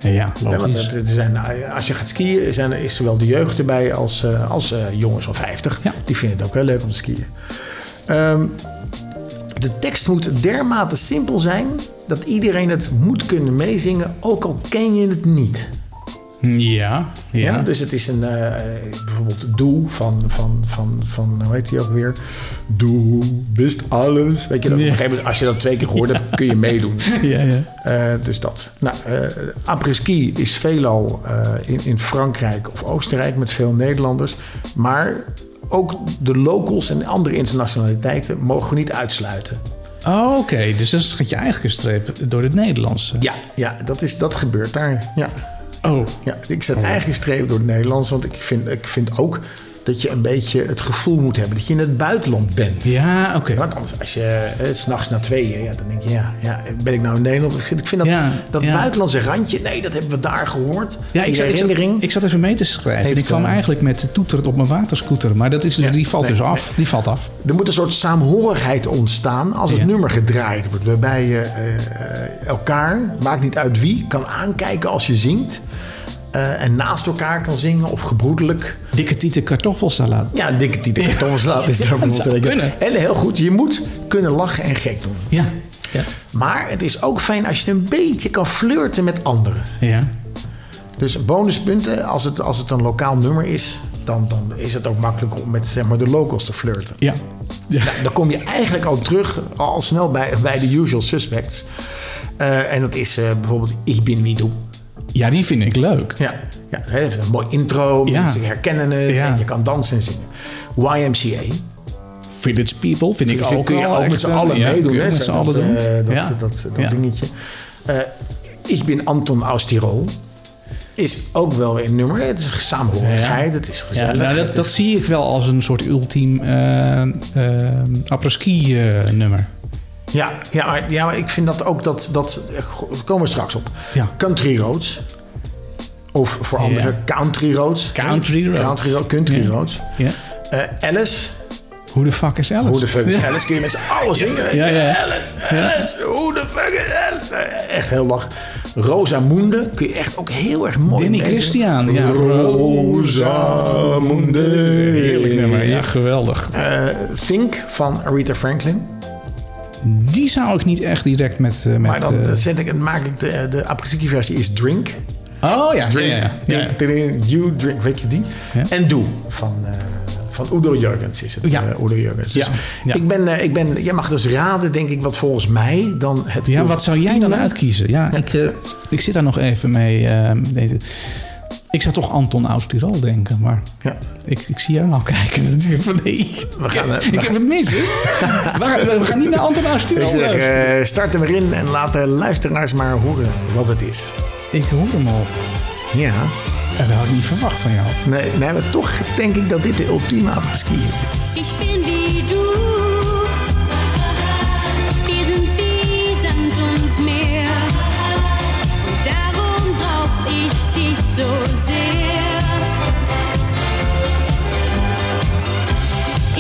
Ja, Ja, want logisch. dat- er zijn, eh, als je gaat skiën, zijn, is zowel de jeugd erbij als, eh, als eh, jongens van 50. Ja. Die vinden het ook heel leuk om te skiën. Ehm, de tekst moet dermate simpel zijn dat iedereen het moet kunnen meezingen, ook al ken je het niet. Ja, Ja? ja. Dus het is een, eh, eh, bijvoorbeeld Doe van, van, van, van, hoe heet die ook weer? Doe best alles. Weet je, dat, op een gegeven moment, als je dat twee keer hoort, dan kun je meedoen. ja, ja. Eh, dus dat. Nou, eh après-ski is veelal eh, in, in Frankrijk of Oostenrijk met veel Nederlanders. Maar ook de locals en andere internationaliteiten mogen we niet uitsluiten. Oh, Oké, dus dan schat je eigenlijk een streep door het Nederlandse. Ja, ja dat, is, dat gebeurt daar. Ja. Oh, Ja, ik zet eigen streep door het Nederlands, want ik vind, ik vind ook dat je een beetje het gevoel moet hebben dat je in het buitenland bent. ja, oké. Want anders, als je eh, 's s'nachts na tweeën, ja, dan denk je, ja, ja, ben ik nou in Nederland? Ik vind, ik vind dat, Ja, dat ja. buitenlandse randje, nee, dat hebben we daar gehoord. Ja, ik Die zat, ik, herinnering. zat, ik zat even mee te schrijven. Heeft, ik kwam eh, eigenlijk met toeteren op mijn waterscooter. Maar dat is, Ja, die valt nee, dus af. Die valt af. Er moet een soort saamhorigheid ontstaan als het Ja. nummer gedraaid wordt. Waarbij je eh, eh, elkaar, maakt niet uit wie, kan aankijken als je zingt. eh, en naast elkaar kan zingen of gebroedelijk. Dikke tieten kartoffelsalade. Ja, een dikke titel. Thomas Laat is daar dat zou bijvoorbeeld. een kunnen. beetje- En heel goed, je moet kunnen lachen en gek doen. Ja. Ja. Maar het is ook fijn als je een beetje kan flirten met anderen. ja. Dus bonuspunten, als het, als het een lokaal nummer is, dan, dan is het ook makkelijk om met zeg maar, de locals te flirten. Ja. Ja. Dan kom je eigenlijk al terug, al snel bij, bij de usual suspects. Eh, en dat is eh, bijvoorbeeld Ik bin wie doe. Ja, die vind ik leuk. Ja, ja, het heeft een mooi intro, Ja. mensen herkennen het Ja. en je kan dansen en zingen. YMCA, Village People vind ik Dus ook kun je wel ook echt met z'n een- allen ja, kun meedoen. je hè? ook Met z'n Zo allen dat, doen. eh, dat, ja. dat, dat Ja. dingetje. Eh, ik ben Anton aus Tirol. Is ook wel weer een nummer. Het is een samenhorigheid. Ja. Het is Ja, gezellig. nou, dat, het dat is- zie ik wel als een soort ultiem eh eh, apres-ski eh, nummer. ja, ja, maar, ja, maar ik vind dat ook dat... dat eh, go- daar komen we straks op. Ja. Country Roads. Of voor anderen Country Roads. Country Roads. Country, Ro- country Roads. Ja. Eh, Alice. Hoe de fuck is Alice? Hoe de fuck is Alice? Kun je met z'n allen zingen? weet je? Ja, ja. Alice, Alice, hoe de fuck is Alice? Echt heel lach. Rosa Moende kun je echt ook heel erg mooi Danny meezingen. Christian. Ja. Rosa Moende. Heerlijk nummer. Eh, Ja, geweldig. Eh, Think van Aretha Franklin. Die zou ik niet echt direct met... eh, met Maar dan dus eh, zet ik, maak ik de, de apres-ski versie is Drink. Oh ja, Drink, ja, ja, ja. drink, drink, you drink, weet je die? Ja. En Doe van, eh, van Udo Jurgens is het. Ja. eh, Udo Jurgens. Dus Ja, ja. Ik ben, eh, ik ben, jij mag dus raden, denk ik, wat volgens mij dan het Ja, wat zou jij dan ultieme- uitkiezen? Ja, ik, eh, ik zit daar nog even mee. eh, deze. Ik zou toch Anton Austirol denken, maar Ja. ik, ik zie jou nou kijken. Dat is van nee, We gaan, eh, ik we heb het mis. hè? we, gaan, we gaan niet naar Anton Austirol Ik zeg, luisteren. eh, start hem erin eh, en laat de luisteraars maar horen wat het is. Ik hoor hem al. Ja. En dat had ik niet verwacht van jou. Nee, nee, maar toch denk ik dat dit de ultieme apres-ski is. Ich bin wie du. Wir sind wie Sand und Meer. Und darum brauch ich dich so sehr.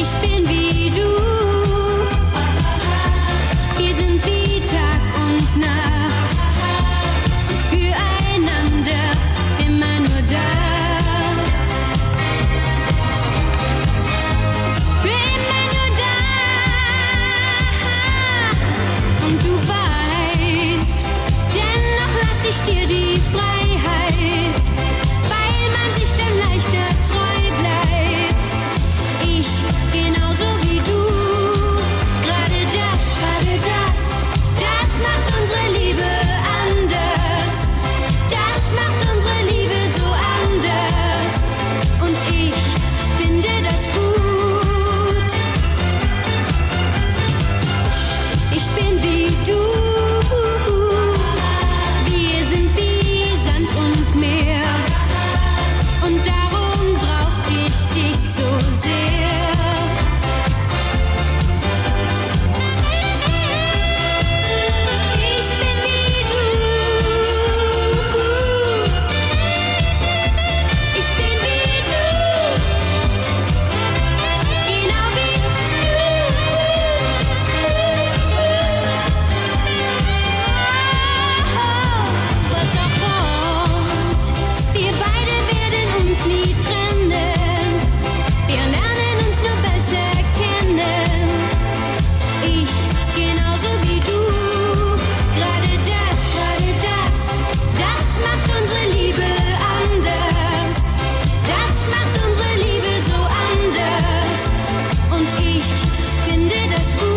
Ich bin wie du. Wir sind wie Tag und Nacht. Und füreinander immer nur da. Für immer nur da. Und du weißt, dennoch lass ich dir die Freiheit, weil man sich dann leichter treu bleibt. Ich genauso wie du, gerade das, gerade das, das macht unsere Liebe anders. Das macht unsere Liebe so anders. Und ich finde das gut. Ich bin wie du. Wir sind wie Sand und Meer. Und darum brauch ich dich so sehr. Ich bin wie du. Ich bin wie du. Genau wie du. Was auch kommt, wir beide werden uns nie trennen. Wir lernen uns nur besser kennen. Ich genauso wie du. Gerade das, gerade das, das macht unsere Liebe anders. Das macht unsere Liebe so anders. Und ich finde das gut.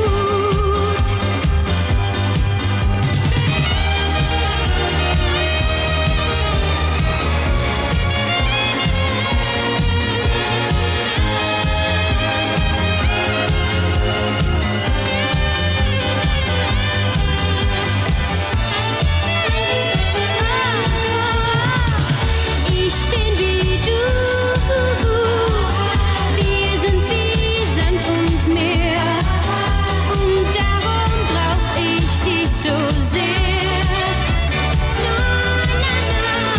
Ich bin wie du. Wir sind wie Sand und Meer. Und darum brauch ich dich so sehr. Na, na, na.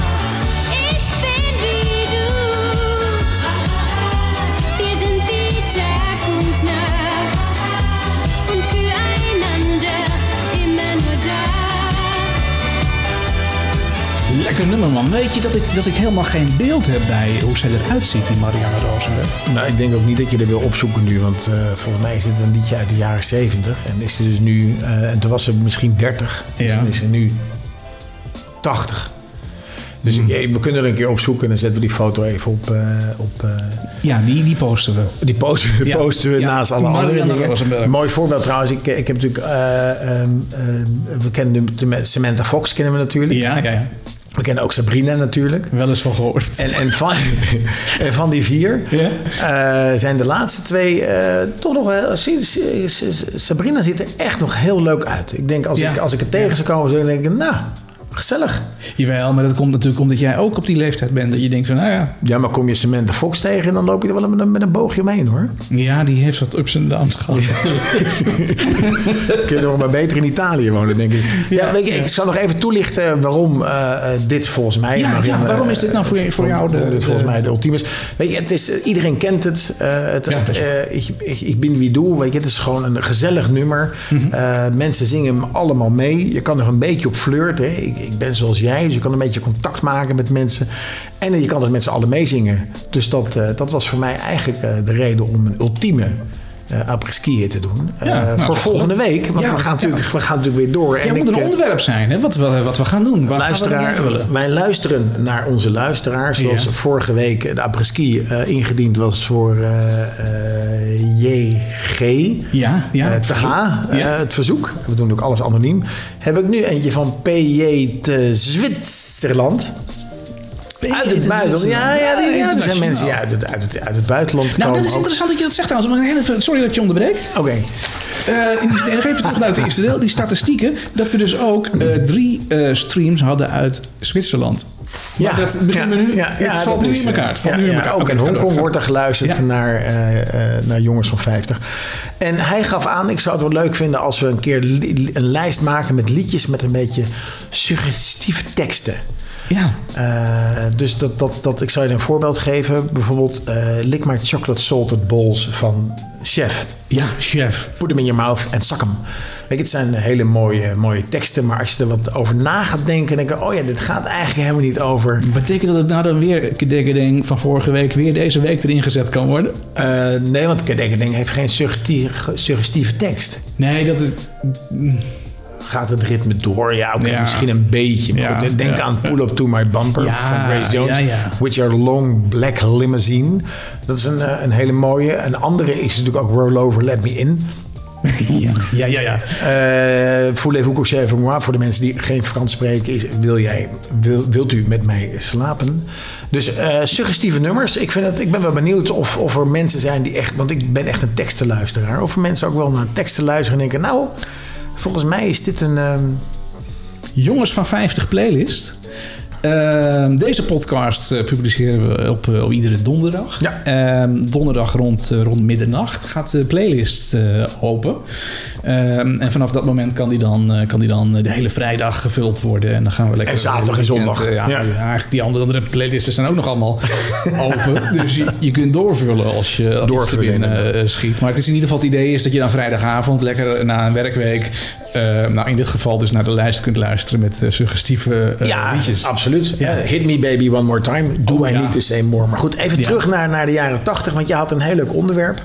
Ich bin wie du. Wir sind wie Tag und Nacht. Und füreinander immer nur da. Lekker nummer, man. Weet je dat ik, dat ik helemaal geen beeld heb bij hoe zij eruit ziet, die Marianne Rosenberg? Nou, ik denk ook niet dat je er wil opzoeken nu, want eh, volgens mij is dit een liedje uit de jaren 70 En is ze dus nu, eh, en toen was ze misschien 30, dus Ja. dan is ze nu 80. Dus eh, we kunnen er een keer opzoeken en dan zetten we die foto even op, eh, op eh, Ja, die, die posten we. Die posten, we Ja. posten we Ja. naast alle Marianne andere dingen. Rosenberg. Mooi voorbeeld trouwens. Ik, ik heb natuurlijk... eh, ehm, ehm, we kennen de, de- Samantha Fox kennen we natuurlijk. Ja, ja, ja. We kennen ook Sabrina natuurlijk. Wel eens van gehoord. En, en, van, en van die vier Ja. eh, zijn de laatste twee eh, toch nog wel... Sa- Sa- Sa- Sabrina ziet er echt nog heel leuk uit. Ik denk als, Ja. ik, als ik het tegen zou komen, zou ik denken... Nou, gezellig. Jawel, maar dat komt natuurlijk omdat jij ook op die leeftijd bent. Dat je denkt van, nou ja, Ja, maar kom je Samantha Fox tegen... dan loop je er wel met een, met een boogje omheen hoor. ja die heeft wat ups en downs gehad. Kun je nog maar beter in Italië wonen, denk ik. Ja, Ja, weet je, ja. ik zal nog even toelichten waarom eh, eh, dit volgens mij... Ja, Marianne, ja, waarom is dit nou voor- waarom- voor jou de- waarom dit de- volgens mij de ultieme is. Weet je, het is, eh, iedereen kent het. eh, het, Ja. het, eh, ik, ik, ik ben wie doe, weet je, het is gewoon een gezellig nummer. Mhm. Eh, mensen zingen hem allemaal mee. Je kan er een beetje op flirten. hè. Ik, ik ben zoals jij, dus je kan een beetje contact maken met mensen. En eh, je kan er met z'n allen meezingen. Dus dat, eh, dat was voor mij eigenlijk eh, de reden om een ultieme... eh après-skiën te doen. Eh, nou, dat voor klopt. volgende week. Want Ja, we, gaan natuurlijk, we gaan natuurlijk weer door. Ja, het moet ik, een eh, onderwerp zijn, hè, wat, we, wat we gaan doen. Waar gaan we luisteraar, het over hebben? wij luisteren naar onze luisteraars. Zoals Ja. vorige week de apres-ski eh, ingediend was voor eh, eh, JG. Ja, ja. Eh, het TH, verzoek. eh, Ja. het verzoek. We doen ook alles anoniem. Heb ik nu eentje van PJ te Zwitserland. Uit het buitenland. Ja, ja, die, ja, er zijn internationaal. mensen die uit het, uit het, uit het buitenland Nou, komen. dat is ook. interessant dat je dat zegt trouwens. Maar heel even, sorry dat ik je onderbreek. Oké. Eh, en nog even terug naar het eerste deel, die statistieken. Dat we dus ook eh, drie eh, streams hadden uit Zwitserland. Ja, dat begint me nu- het valt dat nu is, in elkaar, het eh, valt nu in elkaar. Ook Oké, in goed, Hongkong goed. wordt er geluisterd Ja. naar, eh, eh, naar jongens van 50. En hij gaf aan, ik zou het wel leuk vinden als we een keer li- li- een lijst maken met liedjes met een beetje suggestieve teksten. Ja. Eh, dus dat, dat, dat, ik zou je een voorbeeld geven. Bijvoorbeeld eh Lick My Chocolate Salted Balls van Chef. Ja, chef. Put them in your mouth en zak hem. Weet je, het zijn hele mooie, mooie teksten, maar als je er wat over na gaat denken, dan denk je, oh ja, dit gaat eigenlijk helemaal niet over. Betekent dat het nou dan weer Kedekkeding van vorige week weer deze week erin gezet kan worden? Eh, nee, want Kedekkeding heeft geen suggestieve, suggestieve tekst. Nee, dat is... Gaat het ritme door? Ja, oké, Ja. misschien een beetje. Maar Ja, goed, denk ja. aan Pull Up To My Bumper Ja, van Grace Jones. ja, ja. With Your Long Black Limousine. Dat is een, eh, een hele mooie. Een andere is natuurlijk ook Roll Over, Let Me In. Ja, ja, ja. ja. Eh, Voulez-vous coucher avec moi? Voor de mensen die geen Frans spreken, is, wil jij, wil, wilt u met mij slapen? Dus eh, suggestieve nummers. Ik, vind het, ik ben wel benieuwd of, of er mensen zijn die echt... Want ik ben echt een tekstenluisteraar. Of er mensen ook wel naar teksten luisteren en denken... Nou, volgens mij is dit een... ehm, Jongens van 50 playlist. Ehm, deze podcast eh, publiceren we op, eh, op iedere donderdag. Ja. Ehm, donderdag rond, eh, rond middernacht gaat de playlist eh, open. Ehm, en vanaf dat moment kan die, dan, eh, kan die dan eh, de hele vrijdag gevuld worden. En dan gaan we lekker... En zaterdag en zondag. Eh, ja, Ja. ja, eigenlijk die andere, andere playlisten zijn ook nog allemaal open. Dus je, je kunt doorvullen als je, als je te Doorvullen, binnen inderdaad. eh, schiet. Maar het is in ieder geval het idee is dat je dan vrijdagavond lekker na een werkweek... eh, nou, in dit geval dus naar de lijst kunt luisteren met eh, suggestieve eh, ja, liedjes. absoluut. Eh, hit me baby one more time. Do Oh, I ja. need to say more? Maar goed, even Ja. terug naar, naar de jaren 80. Want je had een heel leuk onderwerp.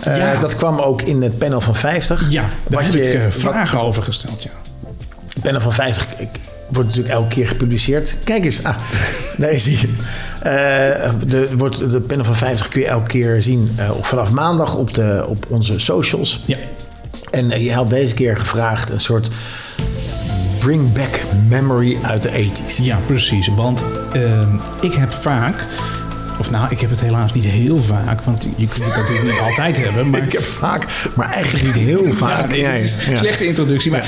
Eh, Ja. Dat kwam ook in het panel van 50. Ja, daar wat heb ik eh, je, wat- vragen over gesteld, ja. Panel van 50 ik, wordt natuurlijk elke keer gepubliceerd. Kijk eens, ah, daar is die. Eh, de, wordt, de Panel van 50 kun je elke keer zien eh, op, vanaf maandag op, de, op onze socials. Ja, En eh, je had deze keer gevraagd een soort bring back memory uit de 80s. ja precies. Want ehm, ik heb vaak... Of nou, ik heb het helaas niet heel vaak, want je kunt het natuurlijk niet altijd hebben. Maar Ik heb vaak, maar eigenlijk niet heel vaak. Ja, nee, het is Ja, een ja. slechte introductie. Maar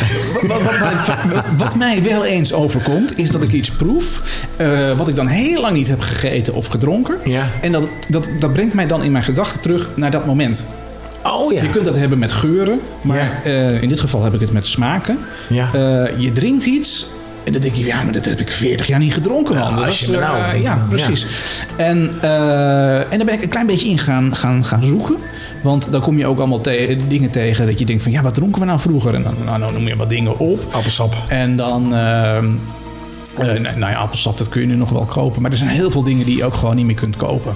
wat, wat, wat- wat mij wel eens overkomt, is dat ik iets proef. eh, wat ik dan heel lang niet heb gegeten of gedronken. Ja. En dat, dat, dat brengt mij dan in mijn gedachten terug naar dat moment. Oh ja. Je kunt dat hebben met geuren. Maar Ja. eh, in dit geval heb ik het met smaken. Ja. Eh, je drinkt iets. En dan denk je, ja, maar dat heb ik 40 jaar niet gedronken. man. Dat als is, je me eh, nou denkt Ja, dan, ja. precies. En, eh, en daar ben ik een klein beetje in gaan, gaan, gaan zoeken. Want dan kom je ook allemaal te- dingen tegen dat je denkt van... ja, wat dronken we nou vroeger? En dan, nou, dan noem je wat dingen op. Appelsap. En dan... ehm, eh, nou nou ja, appelsap, dat kun je nu nog wel kopen. Maar er zijn heel veel dingen die je ook gewoon niet meer kunt kopen.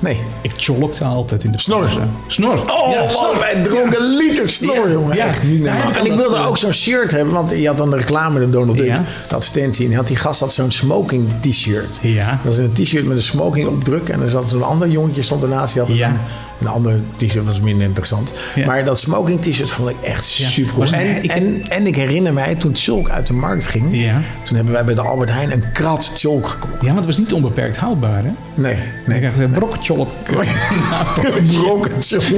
Nee. Ik cholokte altijd in de Snor. pauze. Snor. Oh, Ja, man, wij dronken liters snor, Ja, jongen. ja. Echt niet normaal. Ja, en ik ik kan wilde dat, eh, ook zo'n shirt hebben, want je had dan de reclame de Donald Duck, Ja. de advertentie. En had die gast had zo'n smoking t-shirt. Ja. Dat is een t-shirt met een smoking opdruk. En er zat zo'n ander jongetje stond ernaast. Die had Ja. een, een ander t-shirt, was minder interessant. Ja. Maar dat smoking t-shirt vond ik echt super Was cool. een- En, ik- en, en ik herinner mij, toen Tjolk uit de markt ging, Ja. toen hebben wij bij de Albert Heijn een krat Tjolk gekocht. Ja, want het was niet onbeperkt houdbaar, hè? Nee, Ik nee. dacht, eh, brokcholop. Brokken Tjolk. Dat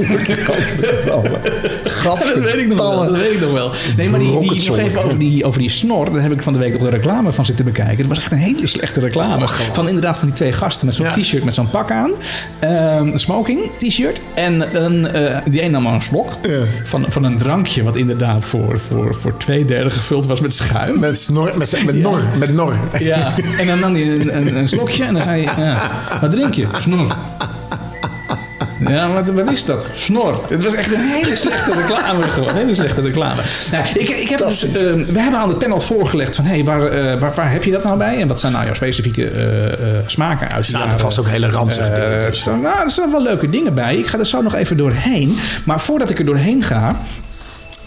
weet ik nog wel. Dat weet ik nog wel. Nee, maar die, die, nog Brokcholop. even over die, over die snor. Daar heb ik van de week nog de reclame van zitten bekijken. Het was echt een hele slechte reclame. van inderdaad van die twee gasten met zo'n Oh, Ja. t-shirt, met zo'n pak aan. Ehm, een smoking t-shirt. En een, eh, die een nam al een slok van, van een drankje. Wat inderdaad voor, voor, voor twee derde gevuld was met schuim. Met snor, met, met nor, met nor. Ja, en dan nam hij een, een, een slokje en dan zei je, ja, wat drink je? Snor. Ja, wat, wat is dat? Snor. Het was echt een hele slechte reclame. Gewoon. Hele slechte reclame. Nou, ik, ik heb dus, Fantastisch. ehm, we hebben aan het panel voorgelegd van... hey, waar, eh, waar, waar heb je dat nou bij? En wat zijn nou jouw specifieke eh, eh, smaken uit de zaten jaren? vast ook hele ranzige dingen Eh, tussen. staan- nou, er staan wel leuke dingen bij. Ik ga er zo nog even doorheen. Maar voordat ik er doorheen ga...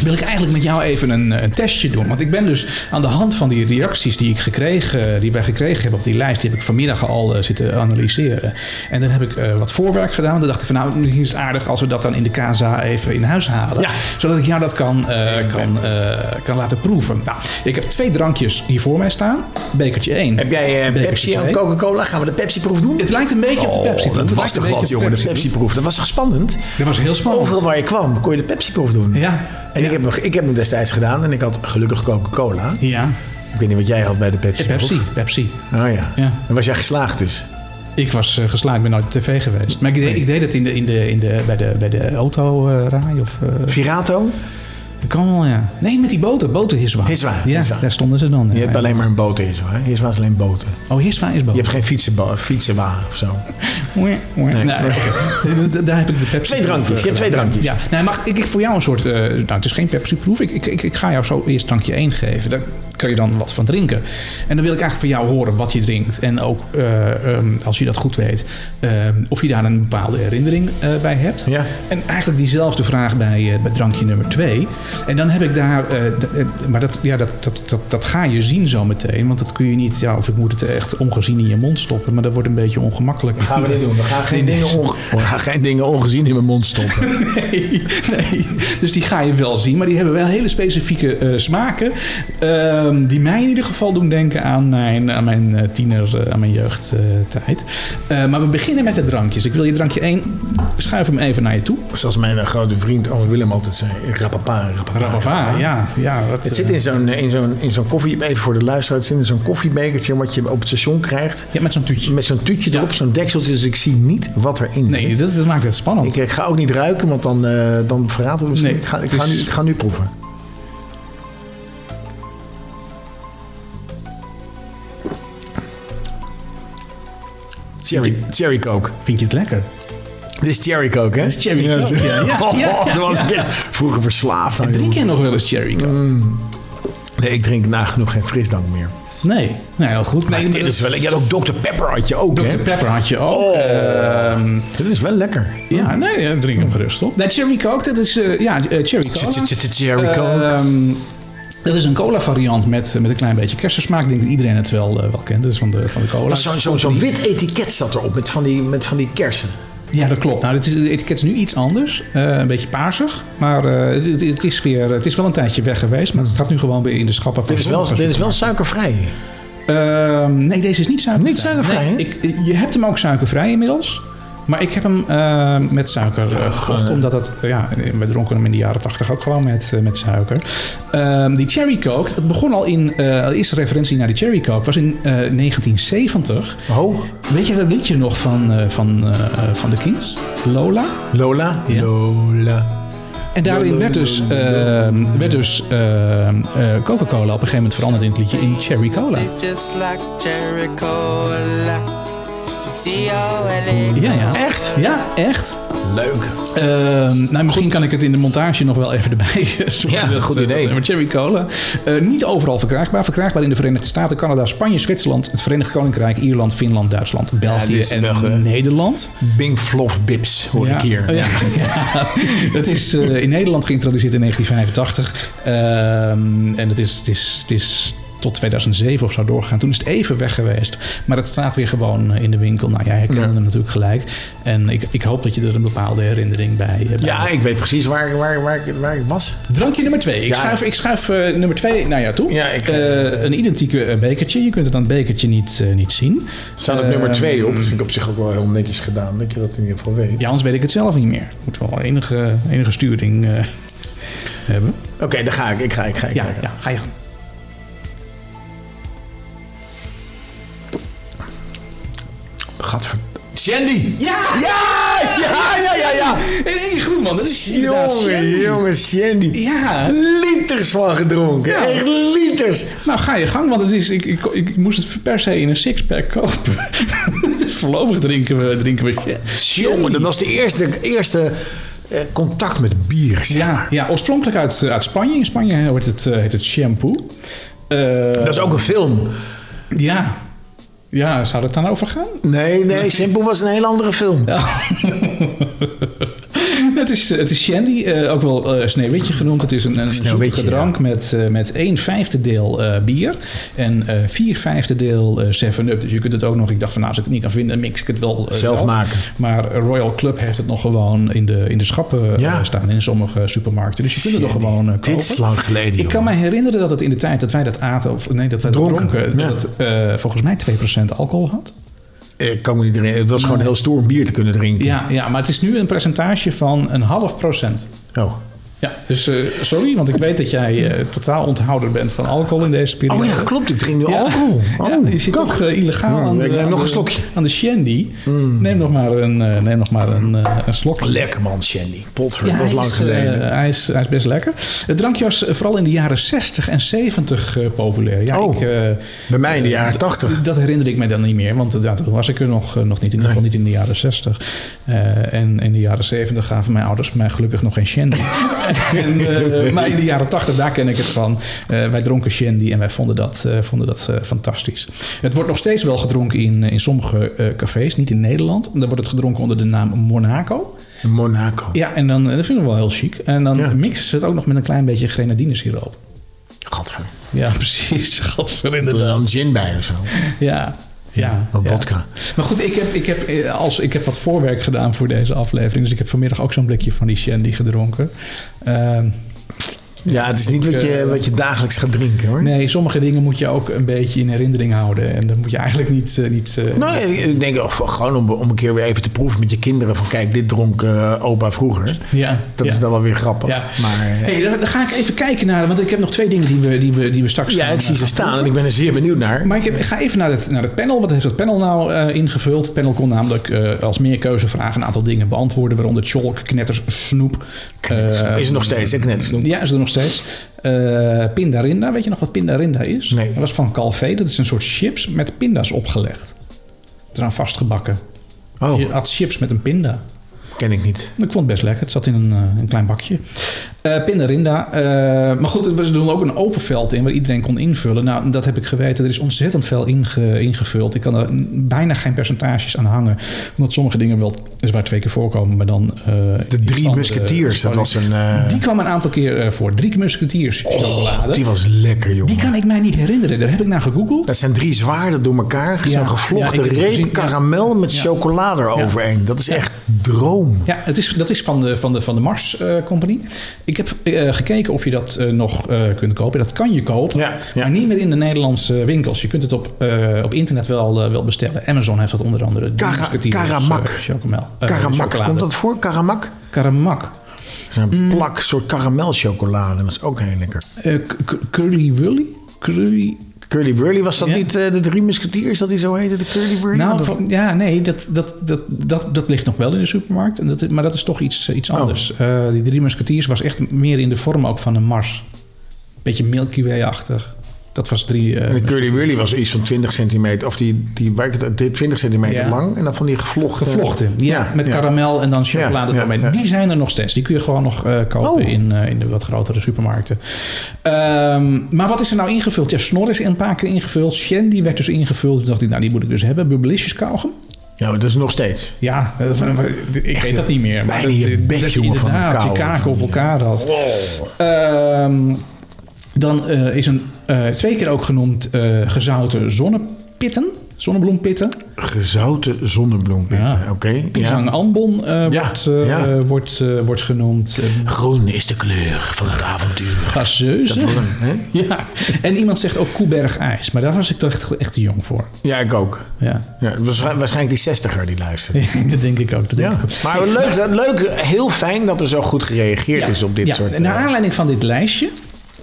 Wil ik eigenlijk met jou even een, eh, een testje doen? Want ik ben dus aan de hand van die reacties die, ik gekregen, eh, die wij gekregen hebben op die lijst, die heb ik vanmiddag al eh, zitten analyseren. En dan heb ik eh, wat voorwerk gedaan. Toen dacht ik van nou, misschien is het aardig als we dat dan in de Casa even in huis halen. Ja. Zodat ik jou dat kan, eh, kan, eh, kan laten proeven. Nou, ik heb twee drankjes hier voor mij staan. Bekertje 1. Heb jij eh, Pepsi en Coca-Cola? Gaan we de Pepsi-proef doen? Het lijkt een beetje op de Oh, Pepsi. Dat was toch wat, jongen, de Pepsi-proef. Dat was toch spannend? Dat was heel spannend. Overal waar je kwam, kon je de Pepsi-proef doen. Ja. En Ik, heb, hem- ik heb hem destijds gedaan en ik had gelukkig Coca-Cola. Ja. Ik weet niet wat jij had bij de Pepsi. Pepsi, toch? Pepsi. Oh ja. Ja. Dan was jij geslaagd dus. Ik was eh, geslaagd, ik ben nooit op tv geweest. Maar ik deed, ik deed het in de, in de, in de, bij, de, bij de autorij of... eh, Virato? dat kan wel, ja. Nee, met die boten. Botenhiswa. Hiswa, Ja, Hiswa. daar stonden ze dan. Je hebt alleen maar een boot in zo. Hè? Hier was alleen boten. Oh, Hiswa is Je boten. hebt geen fietsenba- fietsenwa of zo. Moe, moe. Nee. Nee, oké. D- d- Daar heb ik de Pepsi. eh, Twee drankjes, je hebt twee drankjes. Ja, nee, mag ik, ik voor jou een soort. eh, nou, het is geen Pepsi-proef. Ik, ik, ik, ik ga jou zo eerst drankje 1 geven. Daar kan je dan wat van drinken. En dan wil ik eigenlijk van jou horen wat je drinkt. En ook, eh, ehm, als je dat goed weet, ehm, of je daar een bepaalde herinnering eh, bij hebt. Ja. En eigenlijk diezelfde vraag bij, eh, bij drankje nummer 2. En dan heb ik daar. eh, d- eh, maar dat, ja, dat, dat, dat, dat ga je zien zo meteen. Want dat kun je niet. Ja, of ik moet het echt ongezien in je mond stoppen. Maar dat wordt een beetje ongemakkelijk. Gaan we dit doen? We gaan geen, dingen, onge- we gaan geen dingen ongezien in mijn mond stoppen. Nee, nee. Dus die ga je wel zien. Maar die hebben wel hele specifieke eh, smaken. ehm, die mij in ieder geval doen denken aan mijn, aan mijn eh, tiener, eh, aan mijn jeugdtijd. Eh, maar we beginnen met de drankjes. Ik wil je drankje 1. Schuif hem even naar je toe. Zoals mijn eh, grote vriend Oom Willem altijd zei. Rapapa, rapapa, Rababa, ja. ja wat, Het zit eh, in zo'n, eh, in, zo'n, in zo'n koffie, even voor de luisteraar, het zit in zo'n koffiebekertje wat je op het station krijgt. ja, met zo'n tuutje. Met zo'n tuutje Ja. erop, zo'n dekseltje, dus ik zie niet wat erin Nee, zit. dat, dat maakt het spannend. Ik, eh, ga ook niet ruiken, want dan, eh, dan verraadt het misschien. Nee, ik, ga, ik, het ga nu, is- ik ga nu proeven. Cherry, cherry coke. Vind je het lekker? Dit is cherry coke, hè? Dit is cherry coke, ja, ja, ja, ja, dat was ik echt vroeger verslaafd aan. Drink joh. jij nog wel eens cherry coke? Nee, ik drink nagenoeg geen frisdrank meer. Nee. Nou, heel goed. Nee, Dit is wel, jij had ook Dr. Pepper had je ook, Dr. hè? Pepper had je ook. Ehm, Dit is wel lekker. Ja, nee, ja, drink hem gerust op. Nee, cherry coke, Mm. dat is... eh, ja, eh, cherry cola. Cherry coke. Ehm, dat is een cola variant met, met een klein beetje kersensmaak. Ik denk dat iedereen het wel, eh, wel kent. Dat is van de, van de cola. Dat is Zo'n zo'n zo'n wit etiket zat erop met van die, met van die kersen. Ja, dat klopt. Nou, dit is, het etiket is nu iets anders. Eh, een beetje paarsig. Maar eh, het, het, het is weer, het is wel een tijdje weg geweest. Maar het staat nu gewoon weer in de schappen van Dit is wel, sommige dit is wel suikervrij. Ehm, nee, deze is niet suikervrij. Niet suikervrij, Nee, hè? ik, ik- je hebt hem ook suikervrij inmiddels. Maar ik heb hem eh, met suiker eh, gekocht. omdat dat, eh, ja, we dronken hem in de jaren 80 ook gewoon met, eh, met suiker. Ehm, die Cherry Coke, dat begon al in, eh, de eerste referentie naar de Cherry Coke was in eh, 1970. Oh, Weet je dat liedje nog van, eh, van, eh, eh, van de Kings? Lola? Lola. Lola. En daarin werd dus, ehm, werd dus ehm, eh, Coca-Cola op een gegeven moment veranderd in het liedje in Cherry Cola. It's just like cherry cola. C-O-L-A. Ja, ja. Echt? Ja, echt. Leuk. Ehm, nou, misschien kan ik het in de montage nog wel even erbij zoeken. Ja, goed eh, idee. Maar cherry cola. Eh, niet overal verkrijgbaar. Verkrijgbaar in de Verenigde Staten, Canada, Spanje, Zwitserland, het Verenigd Koninkrijk, Ierland, Finland, Duitsland, België dit is en nog, eh, Nederland. Bing Flof Bips hoor ik hier. Oh, ja. Ja. Het is eh, in Nederland geïntroduceerd in 1985. Ehm, en het is, het, is, het is tot 2007 of zo doorgegaan. Toen is het even weg geweest. Maar het staat weer gewoon eh, in de winkel. Nou, jij herkende Ja. hem natuurlijk gelijk. En ik, ik hoop dat je er een bepaalde herinnering bij hebt. Ja, ik weet precies waar, waar, waar, ik- waar ik was. Drankje nummer twee. Ik Ja. schuif, ik schuif eh, nummer twee naar jou toe. Ja, ik- Eh, een identieke eh, bekertje. Je kunt het aan het bekertje niet, eh, niet zien. Eh, Er staat ook nummer 2 op. Dat vind ik op zich ook wel heel netjes gedaan. Dat je dat in ieder geval weet. Ja, anders weet ik het zelf niet meer. Moet wel enige, enige sturing eh, hebben. Oké, dan ga ik. Ik ga. Ik ga, ik Ja, ga. ja, ga je gang. Gadver... Sandy! Ja! Ja! Ja, ja, ja, ja! In één groen, man. Dat is inderdaad Jongen, Shandy. jongen, Sandy. Ja. Liters van gedronken. Ja. Echt liters. Nou, ga je gang, want het is, ik, ik, ik moest het per se in een sixpack kopen. dus voorlopig drinken we, drinken we Jongen, dat was de eerste, eerste eh, contact met bier. zeg. Ja, ja oorspronkelijk uit, eh, uit Spanje. In Spanje heet het, eh, heet het shampoo. Eh, Dat is ook een film. Ja. Ja, zou dat dan over gaan? Nee, nee, Simpel was een heel andere film. het, is, eh, het is shandy, eh, ook wel eh, sneeuwwitje genoemd. Het is een, een Sneeuwwitje, zoetige drank met, eh, met 1 vijfde deel eh, bier en eh 4 vijfde deel 7-up. dus je kunt het ook nog, ik dacht van nou, als ik het niet kan vinden, mix ik het wel eh, Zelf maken. Maar Royal Club heeft het nog gewoon in de, in de schappen eh, Ja. staan, in sommige supermarkten. Dus je kunt het nog Shandy. gewoon eh, Dit kopen. is lang geleden, Ik kan jongen. me herinneren dat het in de tijd dat wij dat aten, of nee, dat wij dat Dronken, dronken, ja. dat het eh, volgens mij 2% alcohol had. Ik kan me niet herinneren. Het was gewoon heel stoer om bier te kunnen drinken. Ja, ja, maar het is nu een percentage van een half procent. Oh. Ja, dus eh, sorry, want ik weet dat jij eh, totaal onthouder bent van alcohol in deze periode. Oh ja, klopt. Ik drink nu Ja. alcohol. Oh, ja, je zit kak. toch eh, illegaal Hmm, aan, de, ik neem aan nog de- een slokje. Mm. aan de shandy. Neem nog maar een, eh, neem nog maar een, eh, een slokje. Lekker man, Shandy. Potver, Ja, dat is hij lang is, geleden. eh, hij, is, hij is best lekker. Het drankje was eh, vooral in de jaren 60 en 70 eh, populair. Ja, Oh. ik, eh, Bij mij in de jaren tachtig. dat herinner ik mij dan niet meer, want eh, ja, toen was ik er nog, eh, nog niet. In ieder geval niet in de jaren 60. Eh, en in de jaren 70 gaven mijn ouders mij gelukkig nog geen shandy. en, eh, maar in de jaren 80, daar ken ik het van. Eh, wij dronken shandy en wij vonden dat, eh, vonden dat eh, fantastisch. Het wordt nog steeds wel gedronken in, in sommige eh, cafés, niet in Nederland. Dan wordt het gedronken onder de naam Monaco. Monaco. Ja, en dan, eh, dat vinden we wel heel chic. En dan Ja. mixen ze het ook nog met een klein beetje grenadinesiroop. Gadver. Ja, precies. Gadver, Doe er inderdaad. dan gin bij en zo. Ja. Ja, Of ja. vodka. Maar goed, ik heb, ik, heb, eh, als, ik heb wat voorwerk gedaan voor deze aflevering. Dus ik heb vanmiddag ook zo'n blikje van die shandy gedronken. Ehm, Ja, het is niet wat je, wat je dagelijks gaat drinken hoor. eh, nee, sommige dingen moet je ook een beetje in herinnering houden. En dat moet je eigenlijk niet... eh, niet eh, Nou, ik- ik denk oh, gewoon om, om een keer weer even te proeven met je kinderen. Van kijk, dit dronk eh, opa vroeger. ja, Dat ja. is dan wel weer grappig. Ja. Maar, eh, Hey, dan, dan ga ik even kijken naar... Want ik heb nog twee dingen die we, die we, die we straks ja, gaan, ik zie eh, ze gaan staan en ik ben er zeer benieuwd naar. Maar ik heb- ik ga even naar het, naar het panel. Wat heeft het panel nou eh, ingevuld? Het panel kon namelijk eh, als meerkeuzevraag een aantal dingen beantwoorden. Waaronder chalk, knetters, snoep. Knetters. Eh, is er nog steeds, hè? Knetsnoep. Ja, is er nog steeds. Eh, pindarinda. Weet je nog wat pindarinda is? Nee. Dat was van Calvé. Dat is een soort chips met pinda's opgelegd. Eraan vastgebakken. Je Oh, had chips met een pinda. ken ik niet. Ik vond het best lekker. Het zat in een, eh, een klein bakje. Eh Pindarinda. eh, maar goed, we doen ook een open veld in waar iedereen kon invullen. Nou, dat heb ik geweten. Er is ontzettend veel inge- ingevuld. Ik kan er n- bijna geen percentages aan hangen. Omdat sommige dingen wel zwaar twee keer voorkomen, maar dan... eh, De iets Drie andere Musketeers, dat spanning. was een... eh, Die kwam een aantal keer eh, voor. Drie musketiers chocolade. die Die, was lekker, jongen. kan ik mij niet herinneren. Daar heb ik naar gegoogeld. Dat zijn drie zwaarden door elkaar. Ja, Zo'n gevlochten ja, ik heb het reep gezien, ja. karamel met chocolade eroverheen. Dat is echt droom. Ja, het is, dat is van de, van de, van de Mars eh, Company. Ik heb eh, gekeken of je dat eh, nog eh, kunt kopen. Dat kan je kopen, Ja, ja. maar niet meer in de Nederlandse winkels. Je kunt het op, eh, op internet wel, eh, wel bestellen. Amazon heeft dat onder andere. De Kara- Musketeers, eh, Karamak. Chocomel. eh, Karamak, chocolade. komt dat voor? Karamak? Karamak. Dat is Mm. een plak soort karamelchocolade. Dat is ook heel lekker. Eh, k- k- curly Wully? Curly... Curly Burly, was dat Ja. niet eh, de drie musketeers dat die zo heette? De Curly Burly? Nou, Want dat- van- ja, nee, dat, dat, dat, dat, dat ligt nog wel in de supermarkt. En dat, is- maar dat is toch iets, eh, iets anders. Eh, die Drie Musketeers was echt meer in de vorm ook van een Mars. Beetje Milky Way-achtig. Dat was drie... eh, en de Curly Burly was iets van 20 centimeter. Of die, die, waar ik het- die 20 centimeter Ja. lang. En dan van die gevlochten. Gevlochten, ja, met karamel en dan chocolade Ja, ja, eromheen. ja. Die zijn er nog steeds. Die kun je gewoon nog eh, kopen Oh. in, eh, in de wat grotere supermarkten. Ehm, maar wat is er nou ingevuld? Ja, Snor is een paar keer ingevuld. Shandy werd dus ingevuld. Toen dacht ik, nou die moet ik dus hebben. Bubbelisjes kauwgom. Ja, maar dat is nog steeds. Ja, dat- ik weet dat niet meer. bijna dat- in je bek, dat jongen, van de inderdaad kou. je kaken op elkaar had. Ehm, dan eh, is een eh, twee keer ook genoemd eh, gezouten zonnepitten. Zonnebloempitten. Gezouten zonnebloempitten. Ja. Oké. Pisang ja. ambon eh, Ja, wordt, eh, ja. eh, wordt, eh, wordt genoemd. Eh, Groen is de kleur van het avontuur. Gazeuze. Dat was hem, hè? Ja. En iemand zegt ook Koeberg ijs. Maar daar was ik toch echt, echt te jong voor. Ja, ik ook. Ja. Ja, het was waarschijnlijk die 60er die luistert. dat denk ik ook. Dat denk Ja. ik ook. Maar leuk, dat- leuk, heel fijn dat er zo goed gereageerd is op dit Ja, Nou, soort. Naar eh, aanleiding van dit lijstje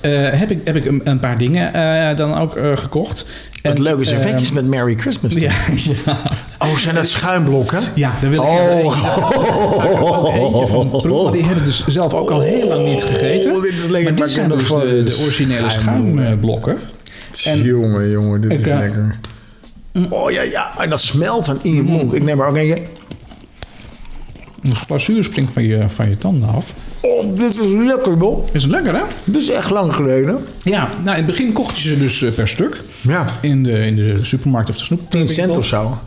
eh, heb ik, heb ik een, een paar dingen eh, dan ook eh, gekocht. En, het leuke is ehm, eventjes met Merry Christmas. ja, ja, Oh, zijn dat schuimblokken? ja, daar wil ik Oh. ik dacht, ik pak er eentje van proeven, want Die hebben dus zelf ook al heel lang niet gegeten. Oh, dit is lekker, Maar maar dit ik zijn ben dus nog eh, de, van- de originele Schuimblokken. schuimblokken. En- jongen, jongen, dit Ik, is eh, lekker. Oh ja, ja, en dat smelt dan in je Mm-hmm. mond. Ik neem er ook een. De glazuur springt van je, van je tanden af. Oh, dit is lekker, Bob. Is het lekker, hè? Dit is echt lang geleden. Ja, nou, in het begin kocht je ze dus eh, per stuk. Ja. In de, in de supermarkt of de snoep. 10 cent of zo.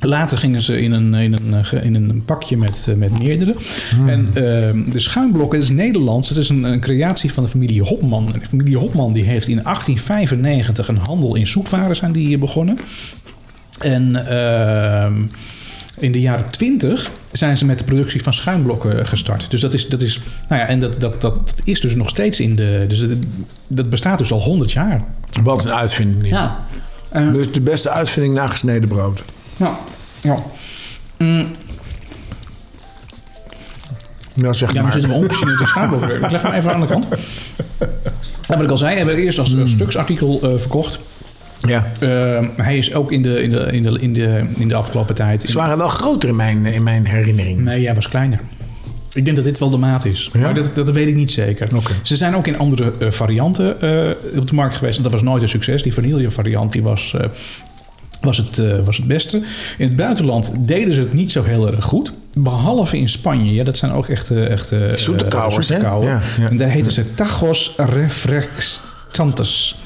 Later gingen ze in een, in een, eh, ge- in een pakje met, eh, met meerdere. En ehm, de schuimblokken, dat is Nederlands. Het is een, een creatie van de familie Hopman. En de familie Hopman die heeft in 1895 een handel in zoetwaren zijn die hier begonnen. En ehm, in de jaren 20 zijn ze met de productie van schuimblokken gestart. Dus dat is, dat is nou ja, en dat, dat, dat, dat is dus nog steeds in de, dus dat, dat bestaat dus al 100 jaar. Wat een uitvinding. Ja. Dus de beste uitvinding na gesneden brood. Ja. ja. Mm. Ja, zeg Ja, maar maar. zitten we ongegeneerd in schaamrokken. Ik leg hem even aan de kant. Nou, wat ik al zei, hebben we eerst als eh, stuksartikel eh, verkocht. Ja. Eh, hij is ook in de, in de, in de, in de, in de afgelopen tijd... in- Ze waren wel groter in mijn, in mijn herinnering. Nee, jij was kleiner. Ik denk dat dit wel de maat is. Ja? Maar dat, dat weet ik niet zeker. Oké. Ze zijn ook in andere eh, varianten eh, op de markt geweest. En dat was nooit een succes. Die vanille variant die was, eh, was, het, eh, was het beste. In het buitenland deden ze het niet zo heel erg goed. Behalve in Spanje. Ja, dat zijn ook echt... eh, echt eh, Zoetekauwers, eh, hè? zoetekauwen. Ja, ja. En daar heten ze tacos refrexantes.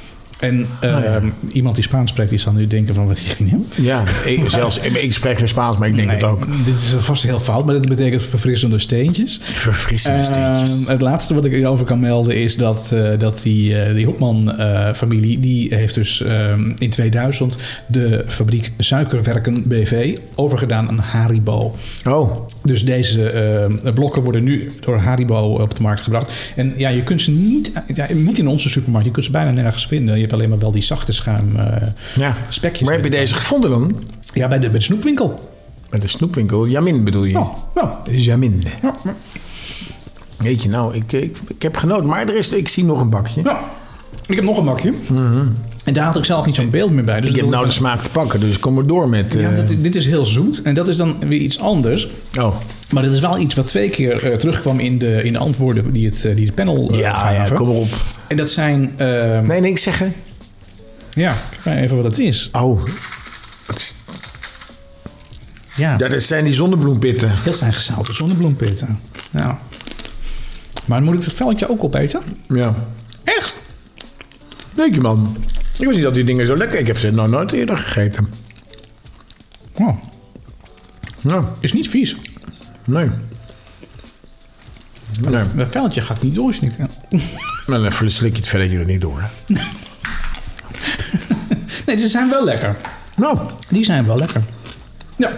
En eh, Ah, ja. iemand die Spaans spreekt, die zal nu denken van... Wat zegt hij nou? Ja, ik, zelfs, ik spreek geen Spaans, maar ik denk het Nee, ook. Dit is vast heel fout, maar dat betekent verfrissende steentjes. Verfrissende Ehm, steentjes. het laatste wat ik hierover kan melden is dat, eh, dat die, eh, die Hopman-familie... die heeft dus ehm, in 2000 de fabriek Suikerwerken BV overgedaan aan Haribo. Oh, Dus deze ehm, blokken worden nu door Haribo eh, op de markt gebracht. En ja, je kunt ze niet, ja, niet in onze supermarkt. Je kunt ze bijna nergens vinden. Je hebt alleen maar wel die zachte schuim eh, ja. spekjes. Maar heb je deze gevonden dan? Ja, bij de, bij de snoepwinkel. Bij de snoepwinkel. Jamin bedoel je? Oh, nou, Jamin. ja, ja. Weet je, nou, ik, ik, ik heb genoten. Maar er is, ik zie nog een bakje. Ja, ik heb nog een bakje. En daar had ik zelf niet zo'n beeld meer bij. Dus Mhm. Ik heb dat- nou de smaak te pakken, dus kom maar door met... Ja, eh, dat, dit is heel zoet en dat is dan weer iets anders. Oh, Maar dat is wel iets wat twee keer eh, terugkwam in de, in de antwoorden die het, eh, die het panel eh, ja, ja, gaven. kom maar op. En dat zijn... ehm, Nee, niks zeggen. Ja, kijk maar even wat het is. Oh, dat, is- Ja, ja, dat zijn die zonnebloempitten. dat zijn gezouten zonnebloempitten. Ja. Maar moet ik dat velletje ook opeten? Ja. Echt? Leuk je man. Ik wist niet dat die dingen zo lekker... Ik heb ze nog nooit eerder gegeten. Oh, Ja, is niet vies. nee. Nee, Dat velletje gaat niet doorsnikken. maar dan slik je het verder hier niet door. hè. Nee, ze zijn wel lekker. Nou, Die zijn wel lekker. Ja,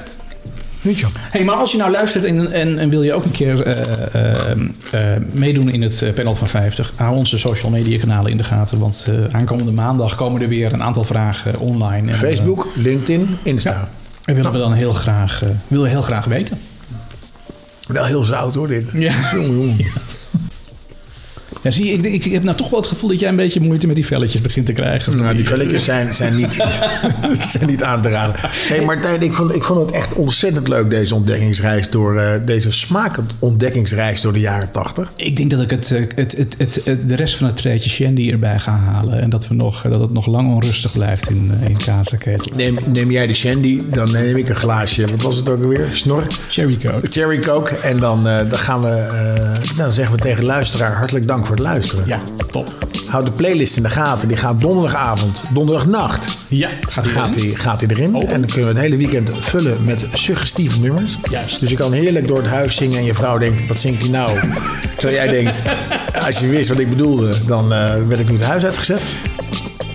weet je. Hey, maar als je nou luistert en, en, en wil je ook een keer eh, eh, eh, meedoen in het eh, panel van 50, hou onze social media kanalen in de gaten. Want eh, aankomende maandag komen er weer een aantal vragen online. En, Facebook, LinkedIn, Insta. eh, en willen we dan heel graag, eh willen we heel graag weten. Wel heel zout hoor, dit. Ja. Jongen, jongen. Ja, zie je, ik, denk- ik heb nou toch wel het gevoel dat jij een beetje moeite met die velletjes begint te krijgen. Nou, die velletjes zijn, zijn, niet, zijn niet aan te raden. Hé hey Martijn, ik vond, ik vond het echt ontzettend leuk deze ontdekkingsreis door eh, deze smakend ontdekkingsreis door de jaren 80. Ik denk dat ik het, eh, het, het, het, het- de rest van het treetje Shandy erbij ga halen. En dat, we nog, eh, dat het nog lang onrustig blijft in, eh, in Kazenketel. Neem, neem jij de shandy, dan neem ik een glaasje. Wat was het ook alweer? Snor? Cherry Coke. Cherry Coke. En dan, eh, dan gaan we, eh, nou, dan zeggen we tegen de luisteraar hartelijk dank voor het luisteren. Ja, top. Houd de playlist in de gaten. Die gaat donderdagavond, donderdagnacht Ja, gaat hij gaat erin? hij gaat hij erin. Oh. En dan kunnen we het hele weekend vullen met suggestieve nummers. Juist. Dus je kan heerlijk door het huis zingen en je vrouw denkt, wat zingt hij nou? Terwijl jij denkt, als je wist wat ik bedoelde, dan eh, werd ik nu het huis uitgezet.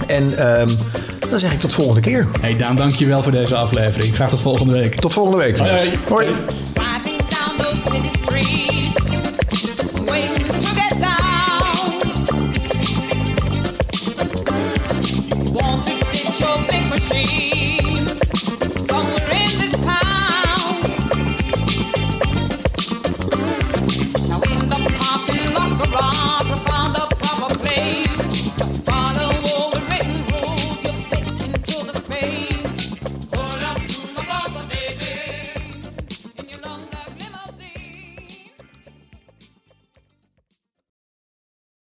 En ehm, dan zeg ik tot volgende keer. Hey Daan, dankjewel voor deze aflevering. Graag tot volgende week. Tot volgende week. jongens. Hoi, Hoi. Driving down those city streets, waiting to get down. Want to get your big machine.